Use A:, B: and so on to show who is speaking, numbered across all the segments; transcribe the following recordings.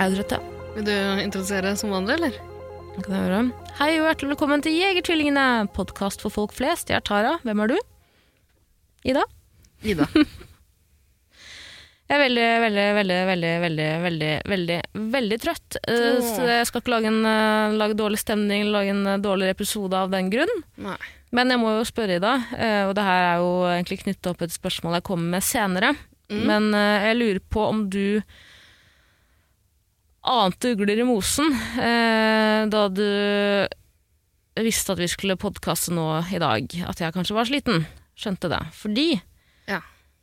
A: Er du trøtt, ja?
B: Vil du introdusere som vanlig, eller?
A: Det Kan jeg høre? Hei og hjertelig velkommen til Jegertvillingene, podkast for folk flest. Jeg er Tara. Hvem er du? Ida?
B: Ida.
A: Jeg er veldig, veldig, veldig, veldig, veldig, veldig, veldig, veldig trøtt. Eh,
B: Åh.
A: Så jeg skal ikke lage, en, eh, lage dårlig stemning, lage en eh, dårligere episode av den grunn.
B: Nei.
A: Men jeg må jo spørre Ida, eh, og det her er jo egentlig knyttet opp et spørsmål jeg kommer med senere. Men eh, jeg lurer på om du ante ugler i mosen eh, da du visste at vi skulle podkaste nå i dag, at jeg kanskje var sliten. Skjønte det. Fordi
B: Ja.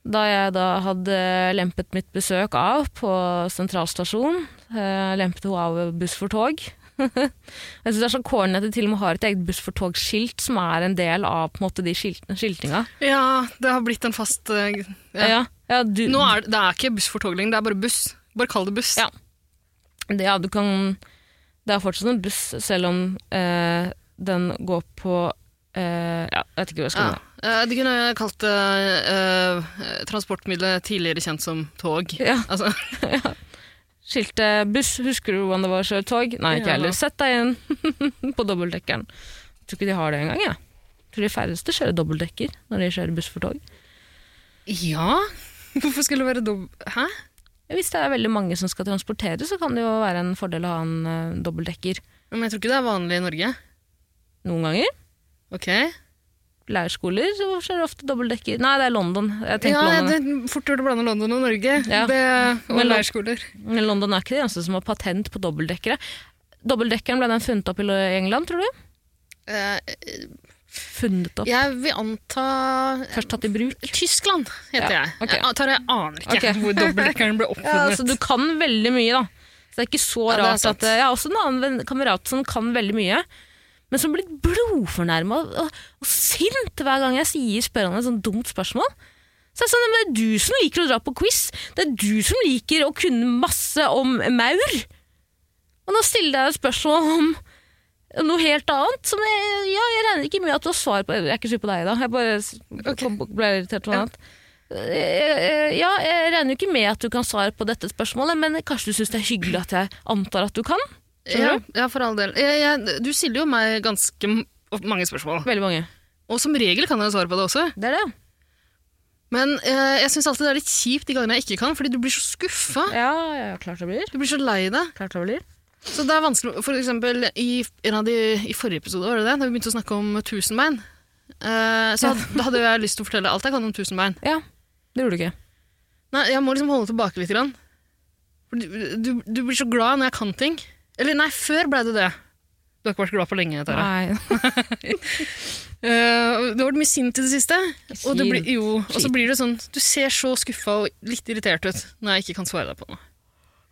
A: da jeg da hadde lempet mitt besøk av på sentralstasjon, eh, lempet hun av buss for tog. jeg synes det er så corny at de til og med har et eget buss for tog-skilt, som er en del av på en måte, de skilt, skiltinga.
B: Ja, det har blitt en fast eh, g- ja.
A: Ja. Ja, du,
B: Nå er det, det er ikke buss for tog lenger, det er bare buss. Bare kall det buss.
A: Ja. det, ja, du kan, det er fortsatt en buss, selv om eh, den går på eh, ja, Jeg vet ikke hvor jeg
B: Ja.
A: skal med det.
B: Eh, De kunne kalt det eh, transportmiddelet tidligere kjent som tog.
A: Ja.
B: Altså,
A: Skiltet 'buss', husker du hvordan det var å kjøre tog? Nei, ikke
B: Ja.
A: heller. Sett deg inn på dobbeltdekkeren. Jeg tror ikke de har det engang. Jeg tror de færreste kjører dobbeltdekker når de kjører buss for tog.
B: ja? Hvorfor skulle det være dobb... Hæ?
A: Hvis det er veldig mange som skal transportere, så kan det jo være en fordel å ha en eh, dobbeltdekker
B: Men jeg tror ikke det er vanlig i Norge.
A: noen ganger.
B: Ok.
A: Leirskoler så kjører ofte dobbeltdekker. Nei, det er London. Jeg tenker
B: Ja,
A: London.
B: det er fort gjort å blande London og Norge.
A: Ja.
B: Det, og
A: Men-
B: leirskoler.
A: Men London er ikke de eneste som har patent på dobbeltdekkere. Dobbeltdekkeren ble den funnet opp i England, tror du?
B: Eh,
A: Funnet opp.
B: jeg vil anta
A: Først tatt i bruk.
B: Tyskland heter
A: Ja,
B: jeg.
A: ok.
B: Jeg tar jeg aner ikke
A: Ok.
B: hvor dobbeltdekkeren ble
A: Ja,
B: oppfunnet.
A: altså, du kan veldig mye, da. Så det er ikke så
B: Ja, det er
A: rart
B: sant.
A: at eh, Jeg har også en annen venn- kamerat som kan veldig mye, men som blir blodfornærma og, og, og sint hver gang jeg sier, spør han et sånt dumt spørsmål. Så jeg er sånn, «Ja, men Det er du som liker å dra på quiz, det er du som liker å kunne masse om maur. Og nå stiller jeg et spørsmål om noe helt annet. Som jeg, ja, jeg regner ikke med at du har svar på Jeg er ikke sur på deg, da. Jeg bare s- kom- ble irritert. Sånn
B: Ja.
A: at. Eh, Ja, jeg regner jo ikke med at du kan svare på dette spørsmålet, men kanskje du syns det er hyggelig at jeg antar at du kan?
B: ja, ja, for all del. Jeg, jeg, du stiller jo meg ganske m- opp mange spørsmål.
A: Veldig mange.
B: Og som regel kan jeg svare på det også.
A: Det er det.
B: Men eh, jeg syns alltid det er litt kjipt de gangene jeg ikke kan, fordi du blir så skuffa.
A: Ja, ja klart det blir.
B: Du blir så lei deg.
A: Klart det blir.
B: Så det er vanskelig For eksempel i, en av de, i forrige episode, var det det? Da vi begynte å snakke om tusenbein. Eh, så had, da hadde jeg lyst til å fortelle alt jeg kan om tusenbein.
A: Ja, det gjorde du ikke.
B: Nei, jeg må liksom holde tilbake litt. Grann. For Du, du, du blir så glad når jeg kan ting. Eller nei, før ble du det. Du har ikke vært glad på lenge. Tara.
A: Nei.
B: Eh, du har vært mye sint i det siste. Og, du blir,
A: Sint.
B: jo, og så blir det sånn Du ser så skuffa og litt irritert ut når jeg ikke kan svare deg på noe.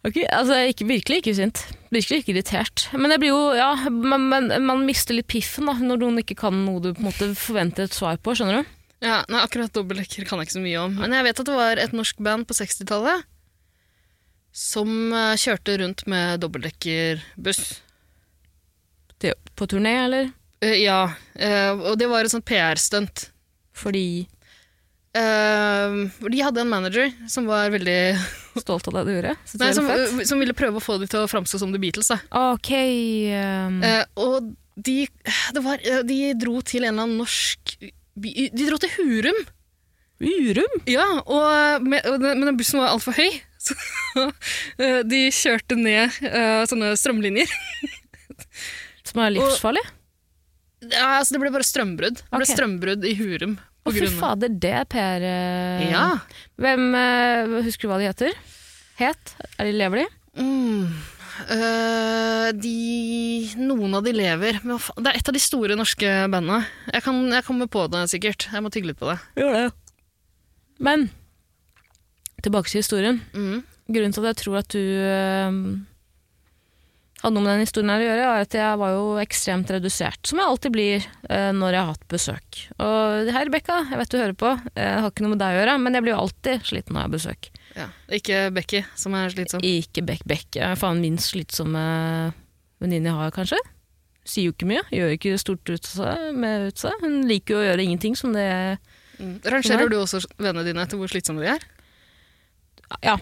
A: Ok, altså jeg er ikke, Virkelig ikke sint. Virkelig ikke irritert. Men jeg blir jo, ja, man, man, man mister litt piffen da, når noen ikke kan noe du på en måte forventer et svar på, skjønner du?
B: Ja, nei, Akkurat dobbeltdekker kan jeg ikke så mye om. Men jeg vet at det var et norsk band på 60-tallet som eh, kjørte rundt med dobbeltdekkerbuss.
A: Til, på turné, eller?
B: Eh, ja, eh, og det var et sånt PR-stunt.
A: Fordi
B: Eh, hvor de hadde en manager som var veldig
A: stolt av deg du gjorde? Synes
B: Nei,
A: det
B: som, eh, øh,
A: var fett?
B: som ville prøve å få dem til å framstå som The Beatles. Da.
A: Ok. Um,
B: Eh, og de, det var, eh, de dro til en eller annen norsk by De dro til Hurum!
A: eh, Urum?
B: Ja, og med, og den, Men den bussen var altfor høy, så eh, de kjørte ned eh, sånne strømlinjer.
A: Som er livsfarlig?
B: Ja, altså det ble bare strømbrudd. Det ble
A: Ok.
B: strømbrudd i Hurum.
A: Å, fy fader, det er PR eh,
B: Ja.
A: Hvem eh, Husker du hva de heter? Het? Er de lever de?
B: Mm. Eh, de Noen av de lever. Men hva faen- det er et av de store norske bandene. Jeg, kan, jeg kommer på det sikkert. Jeg må tygge litt på det.
A: Gjør det. Men tilbake til historien.
B: Mm.
A: Grunnen til at jeg tror at du eh, hadde noe med den historien her å gjøre, er at jeg var jo ekstremt redusert, som jeg alltid blir eh, når jeg har hatt besøk. Og hei, Rebekka, jeg vet du hører på, jeg har ikke noe med deg å gjøre, men jeg blir jo alltid sliten når jeg har besøk.
B: Ja. Ikke Becky, som er slitsom.
A: Ikke Bekk Bekk. Jeg er faen minst slitsomme venninne jeg har, kanskje. Sier jo ikke mye, gjør ikke stort ut av seg. Med ut av seg. Hun liker jo å gjøre ingenting som det
B: Mm. Rangerer du også vennene dine etter hvor slitsomme de er?
A: Ja,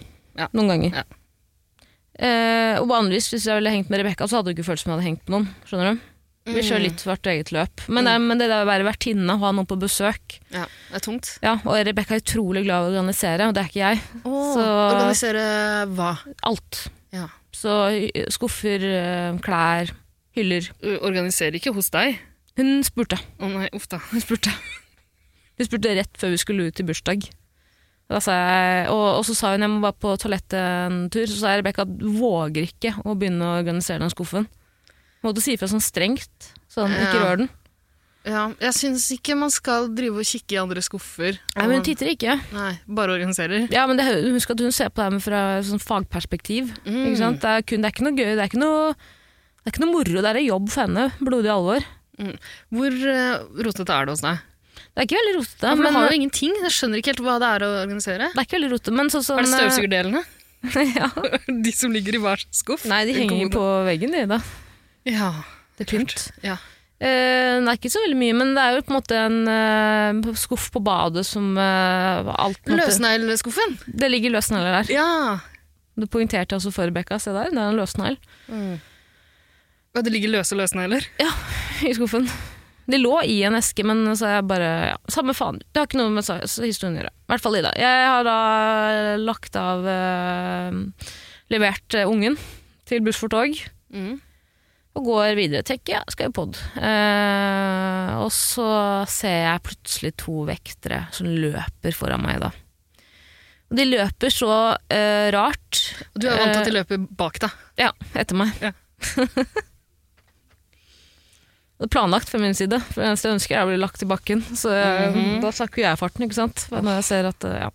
B: Ja.
A: noen ganger.
B: Ja.
A: Eh, og vanligvis, hvis jeg ville hengt med Rebekka, så hadde hun ikke følt som jeg hadde hengt med noen. Skjønner du? Vi
B: Mm.
A: kjører litt hvert eget løp. Men, det, men det der å være vertinne, ha noen på besøk
B: Mm. Ja, Det er tungt.
A: Ja, Og Rebekka er utrolig glad i å organisere, og det er ikke jeg. Så-
B: Organisere eh, hva?
A: Alt.
B: Ja.
A: Så eh, skuffer, eh, klær, hyller.
B: U- Organisere ikke hos deg.
A: Hun spurte.
B: Å nei, uff da.
A: Hun spurte. Hun spurte rett før vi skulle ut i bursdag. Da sa jeg, og, og så sa hun jeg må bare på toalettet en tur. Så sa jeg Rebekka du våger ikke å begynne å organisere den skuffen. Måtte si ifra sånn strengt. Sånn, ikke
B: Ja.
A: rør den.
B: Ja, jeg syns ikke man skal drive og kikke i andre skuffer.
A: Nei, men Hun titter ikke.
B: Nei, bare organiserer.
A: Ja, men det, Husk at hun ser på det her fra sånn fagperspektiv.
B: Mm.
A: Ikke sant? Det, er kun, det er ikke noe gøy, det er ikke noe, det er ikke noe moro. Det er jobb for henne. Blodig alvor.
B: Hvor eh, rotete er det hos deg?
A: Det er ikke veldig rotete.
B: Ja, for
A: men,
B: du har jo ingenting. Jeg skjønner ikke helt hva det er å organisere.
A: det er ikke veldig rotete, men sånn som
B: Er det
A: eh,
B: støvsugerdelene?
A: ja.
B: De som ligger i hver skuff?
A: Nei, de henger på veggen, de, da.
B: Ja.
A: Det er pynt.
B: ja.
A: Eh, det er ikke så veldig mye, men det er jo på en måte en eh, skuff på badet som eh, alt på en måte-
B: Løsnegleskuffen?
A: Det ligger løsnegler der.
B: Ja.
A: Du poengterte også for Rebekka, se der, det er en løsnegl
B: Og det ligger løse løsnegler?
A: i skuffen. De lå i en eske, men så er jeg bare ja, Samme faen, det har ikke noe med sa- historien å gjøre. I hvert fall Ida. Jeg har da lagt av eh, Levert eh, ungen til Buss for tog.
B: Mm.
A: Og går videre, tenker jeg, skal i pod. Eh, og så ser jeg plutselig to vektere som løper foran meg da. Og de løper så eh, rart.
B: Og Du er vant til
A: Eh.
B: at de løper bak deg.
A: Ja, etter meg.
B: Ja.
A: det er planlagt fra min side, for det eneste jeg ønsker er å bli lagt i bakken. Så jeg,
B: Mhm.
A: da snakker jeg farten, ikke sant. For Når jeg ser at, eh, ja.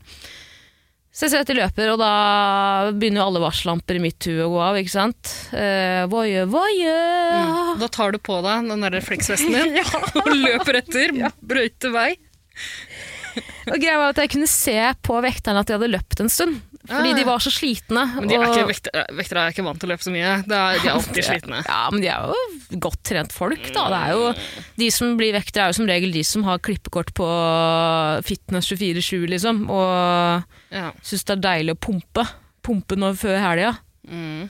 A: Så jeg ser at de løper, og da begynner jo alle varsellamper i mitt hue å gå av, ikke sant. Eh, voie, voie.
B: Da tar du på deg den der refleksvesten din og løper etter. Brøyter vei.
A: Og greia var at jeg kunne se på vekterne at de hadde løpt en stund. Fordi
B: Ah.
A: de var så slitne.
B: Men de er ikke,
A: og-
B: vektere, vektere er ikke vant til å løpe så mye. Det er, de er alltid slitne.
A: Ja, men de er jo godt trent folk, da. Det er jo, de som blir vektere, er jo som regel de som har klippekort på Fitness 24-7, liksom. Og
B: Ja.
A: syns det er deilig å pumpe. Pumpe nå før helga.
B: Mm.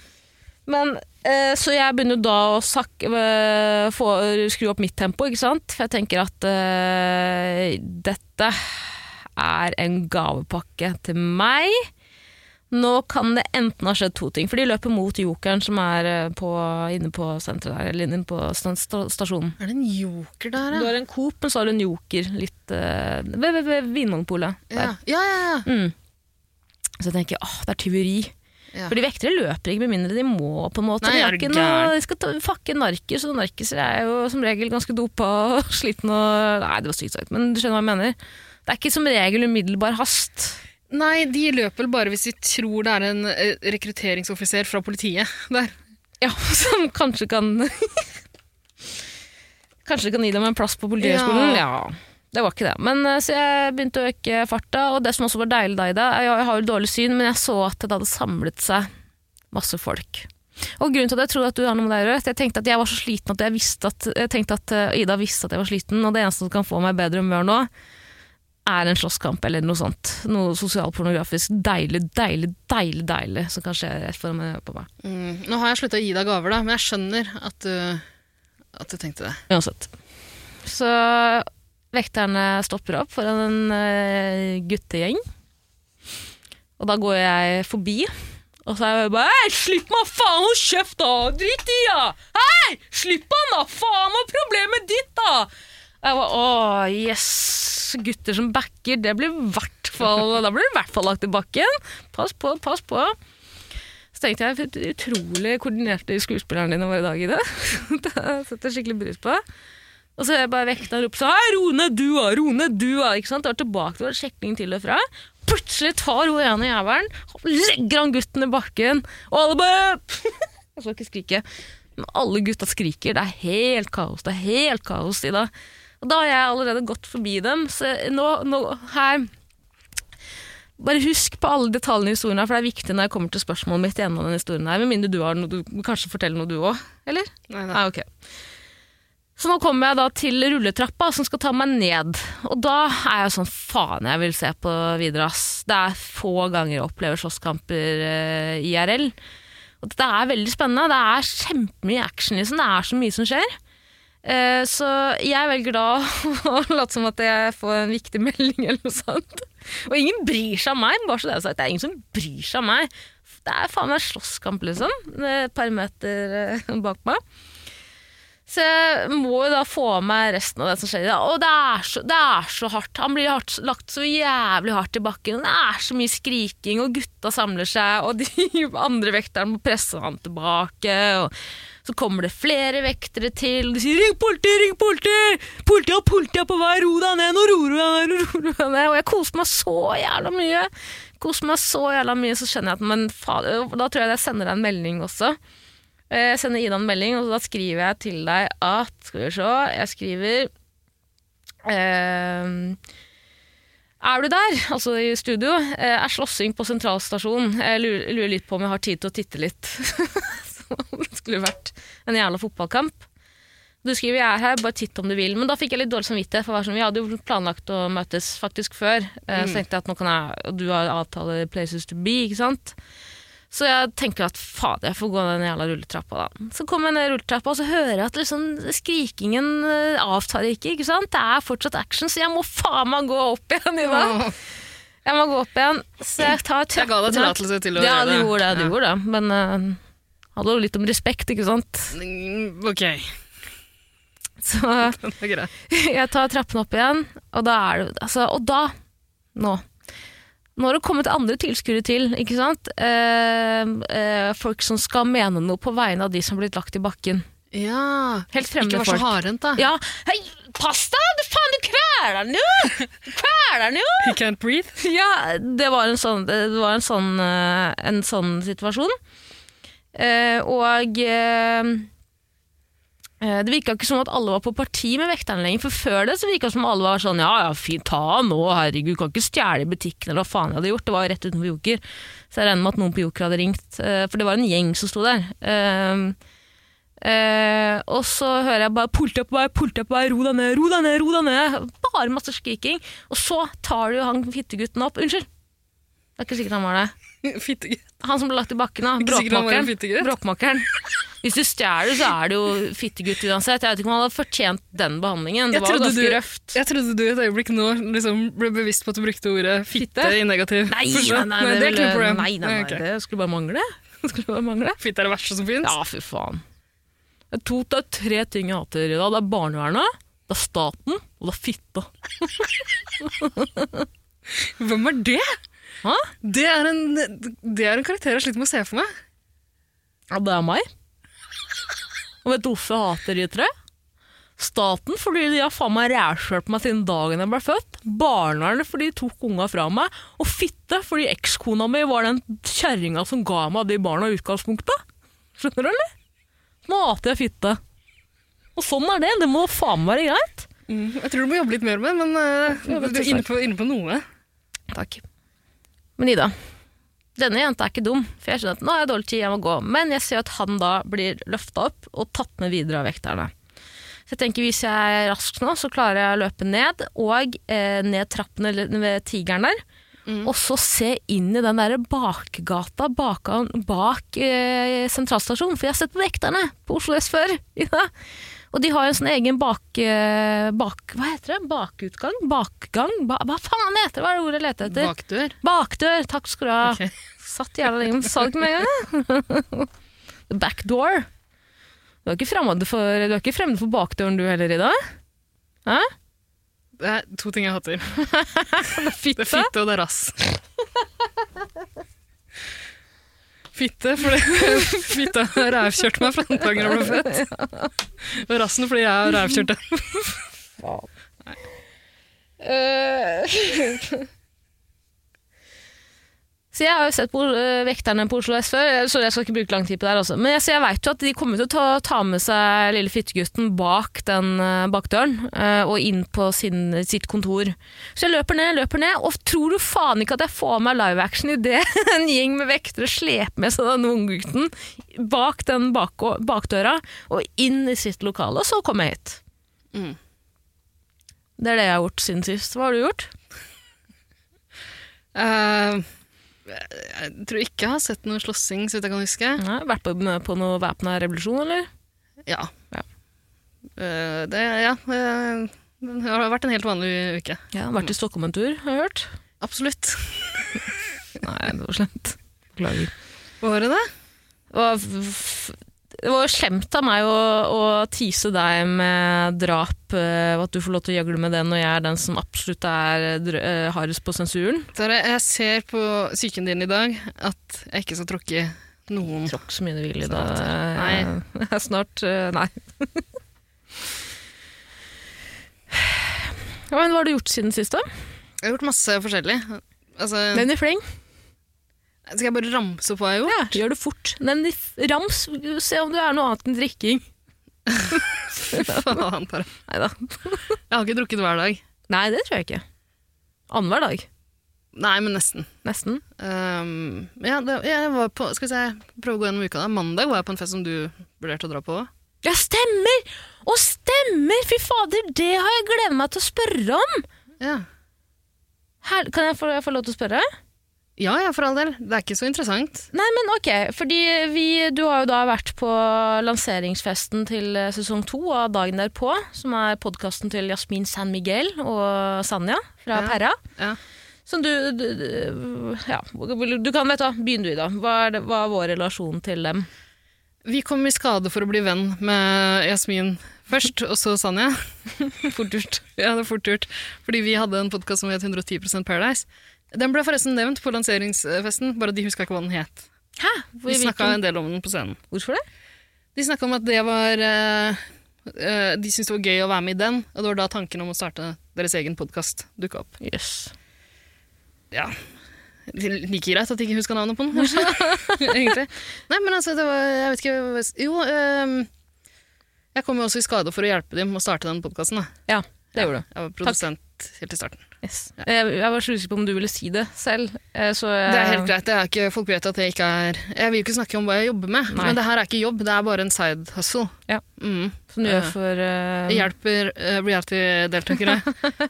A: Men, eh, så jeg begynner da å sak eh, få, skru opp mitt tempo, ikke sant? For jeg tenker at eh, dette er en gavepakke til meg. Nå kan det enten ha skjedd to ting, for de løper mot jokeren som er eh, på, inne på senteret der, eller inne på sta- sta- stasjonen.
B: Er det en joker der,
A: Du
B: ja?
A: har en Coop, men så har du en joker litt eh, ved, ved, ved Vinmonopolet. der.
B: Ja, ja, ja. ja.
A: Mm. Så jeg tenker åh, det er tyveri.
B: Ja.
A: Fordi vektere løper ikke med mindre de må, på en måte.
B: Nei,
A: de,
B: er
A: har
B: du
A: ikke
B: gæren?
A: noe, de skal ta, fakke narkis, og narkiser er jo som regel ganske dopa og slitne og Nei, det var sykt sagt, men du skjønner hva jeg mener. Det er ikke som regel umiddelbar hast.
B: Nei, de løper vel bare hvis de tror det er en eh, rekrutteringsoffiser fra politiet der.
A: Ja, som kanskje kan Kanskje kan gi dem en plass på Politihøgskolen. Ja. Det var ikke det. Men, eh, så jeg begynte å øke farta, og det som også var deilig da, Ida Jeg jeg har jo dårlig syn, men jeg så at det hadde samlet seg masse folk. Og grunnen til at jeg tror at du har noe med deg å gjøre, er at jeg tenkte at jeg var så sliten at jeg visste at, jeg tenkte at eh, Ida visste at jeg var sliten, og det eneste som kan få meg i bedre humør nå, er en slåsskamp eller noe sånt. Noe sosialpornografisk deilig, deilig, deilig, deilig som kan skje rett foran meg. på meg.
B: Mm. Nå har jeg slutta å gi deg gaver, da, men jeg skjønner at du, at du tenkte det.
A: Uansett. Så vekterne stopper opp foran en eh, guttegjeng. Og da går jeg forbi, og så er jeg bare Hei, slipp meg, faen! Hold kjeft, da! Drit i, ja! Hei! Slipp han, da! Faen, hva er problemet ditt, da? Og Jeg var, Åh, yes! Gutter som backer, det blir i hvert fall Da blir det i hvert fall lagt i bakken. Pass på, pass på. Så tenkte jeg, for utrolig koordinerte skuespillerne dine var i dag i det. Det setter jeg skikkelig brus på. Og så hører jeg bare vekta rope sånn Hei, ro ned du, da! Ro ned du, da! Ikke sant? Det var tilbake, det var sjekking til og fra. Plutselig tar hun ene jævelen, legger han gutten i bakken, og alle bare Jeg skal ikke skrike. Men alle gutta skriker. Det er helt kaos. Det er helt kaos i dag. Og da har jeg allerede gått forbi dem, så nå, nå her bare husk på alle detaljene i historien, her, for det er viktig når jeg kommer til spørsmålet mitt gjennom denne historien her, med mindre du har noe du kanskje forteller noe du òg, eller?
B: Nei, nei.
A: Nei, ok. Så nå kommer jeg da til rulletrappa som skal ta meg ned. Og da er jeg sånn faen jeg vil se på videre, ass. Det er få ganger jeg opplever slåsskamper eh, IRL. Og det er veldig spennende. Det er kjempemye action, liksom. Det er så mye som skjer. Eh, så jeg velger da å late som at jeg får en viktig melding eller noe sånt. Og ingen bryr seg om meg, bare så det er sagt. Det er ingen som bryr seg om meg. Det er faen meg slåsskamp, liksom. eh, Et par meter eh, bak meg. Så jeg må jo da få med resten av det som skjer. i dag. Og det er så, det er så hardt. Han blir hardt, lagt så jævlig hardt i bakken. og Det er så mye skriking, og gutta samler seg, og de andre vekterne må presse han tilbake. Og så kommer det flere vektere til, og de sier 'ring politi, ring politi'! Politiet, politiet er på vei, ro deg ned, nå roer du deg ned, nå roer du deg ned. Og jeg koste meg så jævla mye. Koste meg så jævla mye, så skjønner jeg at men fader, da tror jeg jeg sender deg en melding også. Eh, Jeg sender Ida en melding, og da skriver jeg til deg at Skal vi se, jeg skriver ehm, Er du der? Altså i studio. Eh, er slåssing på sentralstasjonen. Jeg lurer, lurer litt på om jeg har tid til å titte litt. Som om det skulle vært en jævla fotballkamp. Du skriver 'jeg er her, bare titt om du vil', men da fikk jeg litt dårlig samvittighet. for å være sånn, Vi hadde jo planlagt å møtes faktisk før. Eh,
B: Mm.
A: Så tenkte jeg at nå kan jeg, og du har avtale places to be, ikke sant. Så jeg tenker at fader, jeg får gå den jævla rulletrappa, da. Så kommer jeg ned rulletrappa, og så hører jeg at liksom, skrikingen eh, avtar ikke. ikke sant? Det er fortsatt action, så jeg må faen meg gå opp igjen, Ida. Jeg må gå opp igjen. Så jeg tar
B: Ah, Jeg ga deg
A: trappene.
B: tillatelse til å gjøre
A: Ja, du
B: det.
A: gjorde det. du gjorde det. Men eh, hadde jo litt om respekt, ikke sant.
B: Mm, Ok,
A: Så
B: det er greit.
A: jeg tar trappene opp igjen, og da er det altså, Og da, nå Nå har det kommet andre tilskuere til, ikke sant? Eh, eh, folk som skal mene noe på vegne av de som har blitt lagt i bakken.
B: Ja,
A: Helt
B: ikke
A: fremmede
B: vær så
A: folk.
B: hardhendt, da.
A: Ja, hei, pass deg! Du faen, du kveler den jo! Du kveler den jo!
B: You can't breathe.
A: Ja, det var en sånn, det var en sånn, eh, en sånn situasjon. Eh, og eh, eh, det virka ikke som at alle var på parti med vekterne lenger. For før det så virka det som alle var sånn ja ja, fint, ta han nå, herregud, kan ikke stjele i butikken eller hva faen jeg hadde gjort. Det var jo rett utenfor Joker. Så jeg regner med at noen på Joker hadde ringt. eh, for det var en gjeng som sto der. Eh, Eh, og så hører jeg bare 'politi på vei, politi på vei, ro deg ned, ro deg ned'. ro deg ned Bare masse skriking. Og så tar det jo han fittegutten opp. Unnskyld! Det er ikke sikkert han var det.
B: Fittegutt.
A: Han som ble lagt i bakken av
B: Ikke sikkert han var en
A: bråkmakeren.
B: fittegutt.
A: bråkmakeren. Hvis du stjeler, så er det jo fittegutt uansett. Jeg vet ikke om han hadde fortjent den behandlingen. Det
B: Jeg
A: var jo
B: trodde
A: ganske
B: du-
A: røft.
B: Jeg trodde du et øyeblikk nå liksom ble bevisst på at du brukte ordet fitte i negativ.
A: Nei, nei,
B: forstand.
A: nei,
B: nei, det er ikke noe
A: ville-
B: problem.
A: Nei, nei, nei,
B: ok.
A: det skulle bare mangle. Det skulle bare mangle.
B: Fitte er det verste som finnes.
A: Ja, fy faen. Det er, to, det er tre ting jeg hater i dag. Det er barnevernet, det er staten, og det er fitta.
B: Hvem er det?
A: Hæ?
B: Det er, en, det er en karakter jeg sliter med å se for meg.
A: Ja, det er meg. Og vet du hvorfor jeg hater de tre? Staten, fordi de har faen meg rævkjørt meg siden dagen jeg ble født. Barnevernet, fordi de tok unga fra meg. Og fitte, fordi ekskona mi var den kjerringa som ga meg de barna i utgangspunktet. Skjønner du, eller? Nå hater jeg fitte. Og sånn er det. Det må faen meg være greit.
B: Jeg tror du må jobbe litt mer med den, men eh,
A: vet
B: du er
A: ikke.
B: inne på, inne på noe.
A: Takk. Men Ida, denne jenta er ikke dum, for jeg skjønner at nå har jeg dårlig tid, jeg må gå. Men jeg ser at han da blir løfta opp og tatt med videre av vekterne. Så jeg tenker hvis jeg er rask nå, så klarer jeg å løpe ned, og eh, ned trappene l- ved tigeren der. Og så se inn i den der bakgata bak, bak eh, sentralstasjonen, for jeg har sett på vekterne på Oslo S før. Ida. Og de har jo en sånn egen bak, eh, bak... Hva heter det? Bakutgang? Bakgang? Ba, hva faen heter det? Hva er det ordet jeg leter etter?
B: Bakdør.
A: Bakdør, takk skal du ha.
B: Ok.
A: Satt jævla lenge, men sa det ikke med en gang. jeg. The back door. Du er ikke fremmed for, du er ikke fremmed for bakdøren du heller, Ida? Hæ?
B: Det er to ting jeg hater. Det
A: Fitte?
B: er fitte og det er rass. Fitte fordi fitta har rævkjørt meg fra den dagen jeg ble født. Og rassen fordi jeg har rævkjørt deg.
A: Eh, Så jeg har jo sett på øh, Vekterne på Oslo S før, så jeg skal ikke bruke lang tid på det her også. Men jeg, så jeg vet jo at de kommer til å ta, ta med seg lille fittegutten bak den øh, bakdøren øh, og inn på sin, sitt kontor. Så jeg løper ned, løper ned, og tror du faen ikke at jeg får meg live action i det? En gjeng med vektere sleper med seg den unggutten bak den bak, bakdøra og inn i sitt lokale, og så kommer jeg hit.
B: Mm.
A: Det er det jeg har gjort siden sist. Hva har du gjort?
B: Eh, jeg tror ikke jeg har sett noe slåssing, så vidt jeg kan huske.
A: Nei, vært på, på noe væpna revolusjon, eller?
B: Ja.
A: Ja.
B: Eh, det, ja eh, det har vært en helt vanlig uke.
A: Ja, Vært i Stockholm en tur, har jeg hørt.
B: Absolutt.
A: Nei, det var slemt. Beklager.
B: Var det det?
A: Det var, f- det var jo slemt av meg å, å tease deg med drap, eh, og at du får lov til å gjøgle med den, og jeg er den som absolutt er eh, drø- eh, hardest på sensuren.
B: Tara, jeg ser på psyken din i dag at jeg ikke skal tråkke noen.
A: Tråkk så mye du vil i dag.
B: Snart.
A: Mm. Nei. Snart eh, Nei. Ja, men Hva har du gjort siden sist, da?
B: Jeg har gjort masse forskjellig. Altså,
A: Nevn i fleng.
B: skal jeg bare ramse opp hva jeg har gjort?
A: Ja, gjør det fort. Nevn i f- rams. Se om du er noe annet enn drikking.
B: Faen, Tara.
A: Nei da.
B: Jeg har ikke drukket hver dag.
A: Nei, det tror jeg ikke. Annenhver dag.
B: Nei, men nesten.
A: Nesten.
B: Um, ja, det, jeg var på, skal vi se, prøve å gå gjennom uka da. Mandag var jeg på en fest som du vurderte å dra på.
A: Ja, stemmer! Å, stemmer! Fy fader, det har jeg gledet meg til å spørre om!
B: Ja.
A: Her, kan jeg få, jeg få lov til å spørre?
B: ja, ja, for all del. Det er ikke så interessant.
A: Nei, men ok, fordi vi, du har jo da vært på lanseringsfesten til eh, sesong to av Dagen derpå, som er podkasten til Jasmin San Miguel og Sanja fra
B: Ja.
A: Perra.
B: Ja.
A: Som du, du, du Ja, vil- du kan vet du, hva, begynn du, da. Hva er, det, hva er vår relasjon til dem?
B: Vi kom i skade for å bli venn med Jasmin først, og så Sanja. fort gjort. Ja, det er fort gjort. Fordi vi hadde en podkast som het 110 Paradise. Den ble forresten nevnt på lanseringsfesten, bare de huska ikke hva den het.
A: Hæ?
B: Vi snakka en del om den på scenen.
A: Hvorfor det?
B: De snakka om at det var eh, eh, De syntes det var gøy å være med i den, og det var da tanken om å starte deres egen podkast dukka opp.
A: Jøss. Yes.
B: Ja. Like greit at jeg ikke huska navnet på den, kanskje. Egentlig. Nei, men altså, det var Jeg vet ikke hva- Jo, ehm, jeg kom jo også i skade for å hjelpe dem med å starte den podkasten.
A: Ja, det gjorde du.
B: Jeg var produsent helt i starten.
A: Yes. Jeg, jeg var så usikker på om du ville si det selv. eh, Så jeg,
B: Det er helt greit. Det er ikke, folk vet at jeg ikke er Jeg vil jo ikke snakke om hva jeg jobber med,
A: Nei.
B: men det her er ikke jobb, det er bare en side hustle.
A: Ja. Um.
B: Mm.
A: Som du gjør for eh,
B: Jeg hjelper eh, reality-deltakere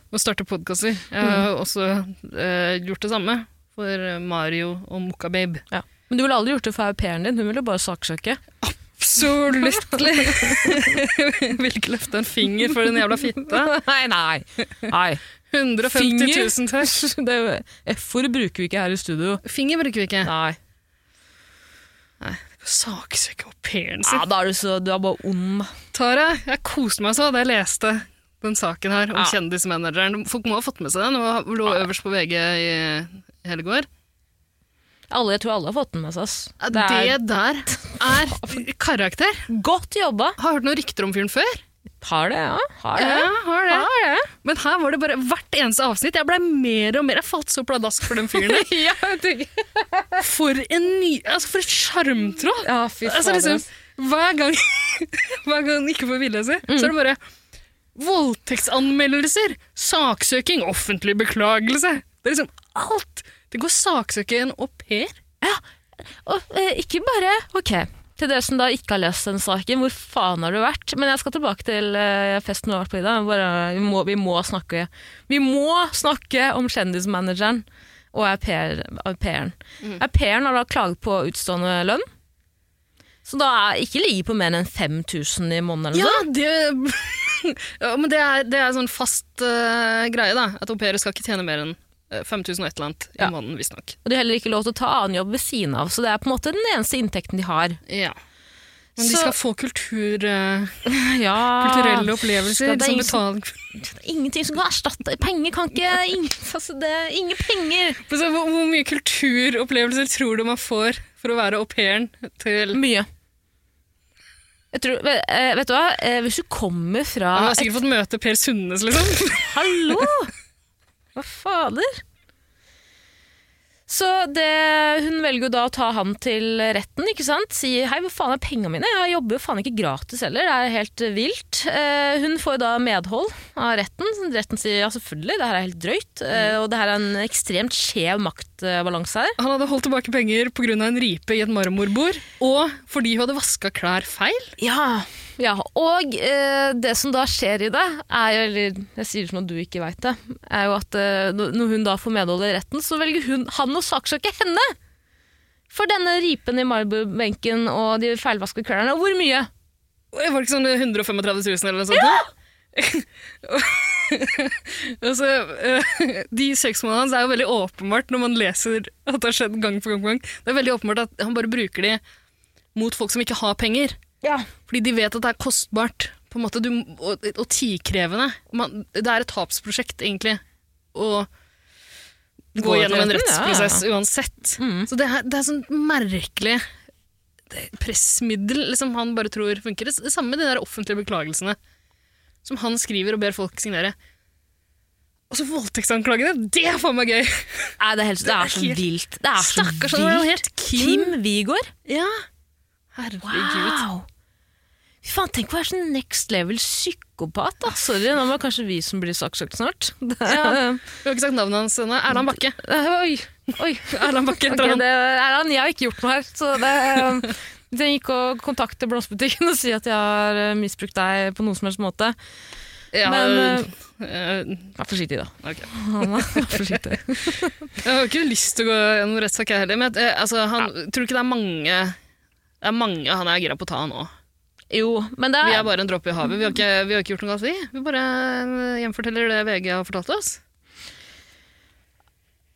B: å starte podkaster. Jeg har
A: Mm.
B: også eh, gjort det samme for Mario og Mokkababe.
A: ja. Men du ville aldri gjort det for au pairen din. Hun ville bare saksøke.
B: Absolutt! Jeg vil ikke løfte en finger for den jævla fitta.
A: Nei, nei. nei.
B: 150
A: Finger?
B: 000 tørs.
A: Det er jo- F-ordet bruker vi ikke her i studio.
B: Finger bruker vi ikke.
A: Nei.
B: Saksøke au pairen
A: Ja,
B: sin.
A: da er du så Du er bare ond.
B: Tara, jeg koste meg så da jeg leste den saken her om
A: Ja.
B: kjendismanageren. Folk må ha fått med seg den, og lå øverst på VG i hele går.
A: Alle, jeg tror alle har fått den med seg. ass.
B: Det der er karakter.
A: godt jobba.
B: Har hørt noen rykter om fyren før?
A: Har det, ja. Har det.
B: Ja, har det.
A: Har det.
B: Men her var det bare hvert eneste avsnitt. Jeg blei mer og mer Jeg falt så pladask for den fyren der.
A: Ja, jeg tenker-
B: For en ny Altså, for et sjarmtroll!
A: ja, fy fader.
B: Altså, liksom, hver gang Hver gang han ikke får viljen sin, så er det bare voldtektsanmeldelser, saksøking, offentlig beklagelse. Det er liksom alt! Det går saksøke en au pair.
A: Og eh, ikke bare Ok, til dere som da ikke har lest den saken, hvor faen har du vært? Men jeg skal tilbake til eh, festen du har vært på, Ida. Bare, vi, må, vi må snakke Vi må snakke om kjendismanageren og au pair- au pairen. Au pairen har da klaget på utstående lønn. Så da er ikke ligge på mer enn 5000 i måneden. eller
B: Ja,
A: noe.
B: det ja, Men det er, det er sånn fast eh, greie, da. At au pairer skal ikke tjene mer enn eh, 5000 og et eller annet i
A: Ja.
B: måneden, visstnok.
A: Og de har heller ikke lov til å ta annen jobb ved siden av, så det er på en måte den eneste inntekten de har.
B: Ja. Men de
A: Så-
B: skal få kultur, eh,
A: Ja.
B: kulturelle opplevelser
A: skal det
B: som
A: ingen-
B: betaling.
A: Ingenting som kan erstatte Penger kan ikke ingen, altså det, ingen penger!
B: Men så Hvor, hvor mye kulturopplevelser tror du man får for å være au pairen til
A: Mye. Jeg tror, ve- eh, vet du hva? Eh, Hvis du kommer
B: Han
A: fra
B: har sikkert fått møte Per Sundnes, liksom.
A: Hallo! Hva fader? Så det, hun velger jo da å ta han til retten, ikke sant? Sier hei, hvor faen er pengene mine? Jeg jobber jo faen ikke gratis heller, det er helt eh, vilt. Eh, hun får jo da medhold av retten. Retten sier ja, selvfølgelig, det her er helt drøyt. eh, og det her er en ekstremt skjev maktbalanse her.
B: Han hadde holdt tilbake penger pga. en ripe i et marmorbord, og fordi hun hadde vaska klær feil.
A: Ja, ja. og eh, det som da skjer i det, er jo, eller jeg sier det som at du ikke veit det, er jo at eh, når- når hun da får medhold i retten, så velger hun, han å saksøke henne! For denne ripen i marborbenken og de feilvaska klærne, og hvor mye?
B: Det var ikke sånn 135 000 eller noe sånt? Ja! altså, eh, de søksmålene hans er jo veldig åpenbart når man leser at det har skjedd gang på gang på gang. Det er veldig åpenbart at han bare bruker de mot folk som ikke har penger.
A: Ja.
B: Fordi de vet at det er kostbart på en måte, du, og, og tidkrevende. Man, det er et tapsprosjekt, egentlig, å gå
A: til
B: gjennom en
A: retten, ja, Mm. ja.
B: rettsprosess uansett. Så det er, det er sånn merkelig det- pressmiddel liksom, han bare tror funker. Det samme med de der offentlige beklagelsene som han skriver og ber folk signere. Og så voldtektsanklagene! Det er faen meg gøy!
A: Nei, det er, helt, det er så
B: helt-
A: vilt. Det er så
B: Stakkars, han var jo
A: vilt.
B: helt Kim.
A: Kim Vigård.
B: Ja. Herregud.
A: Wow! Fy faen, tenk å være sånn next level psykopat. Da. Sorry, nå må det kanskje vi som blir saksøkt snart.
B: Ja. Vi har ikke sagt navnet hans ennå. Erland Bakke.
A: Eh, Oi, oi.
B: Erland Bakke heter
A: Ok,
B: han.
A: det er han. Jeg har ikke gjort noe her. Så det, um, jeg gikk og kontakte blomsterbutikken og si at jeg har uh, misbrukt deg på noen som helst måte.
B: Ja,
A: Men,
B: eh,
A: Vær forsiktig, da.
B: ok.
A: Hanna. Vær forsiktig.
B: Jeg har ikke lyst til å gå gjennom rettssak jeg heller, men eh, altså, han, tror du ikke det er mange det er mange han er gira på å ta nå.
A: Jo, men det
B: Vi
A: er,
B: er bare en dråpe i havet. Vi har, ikke, vi har ikke gjort noe galt, vi. Vi bare eh, gjenforteller det VG har fortalt oss.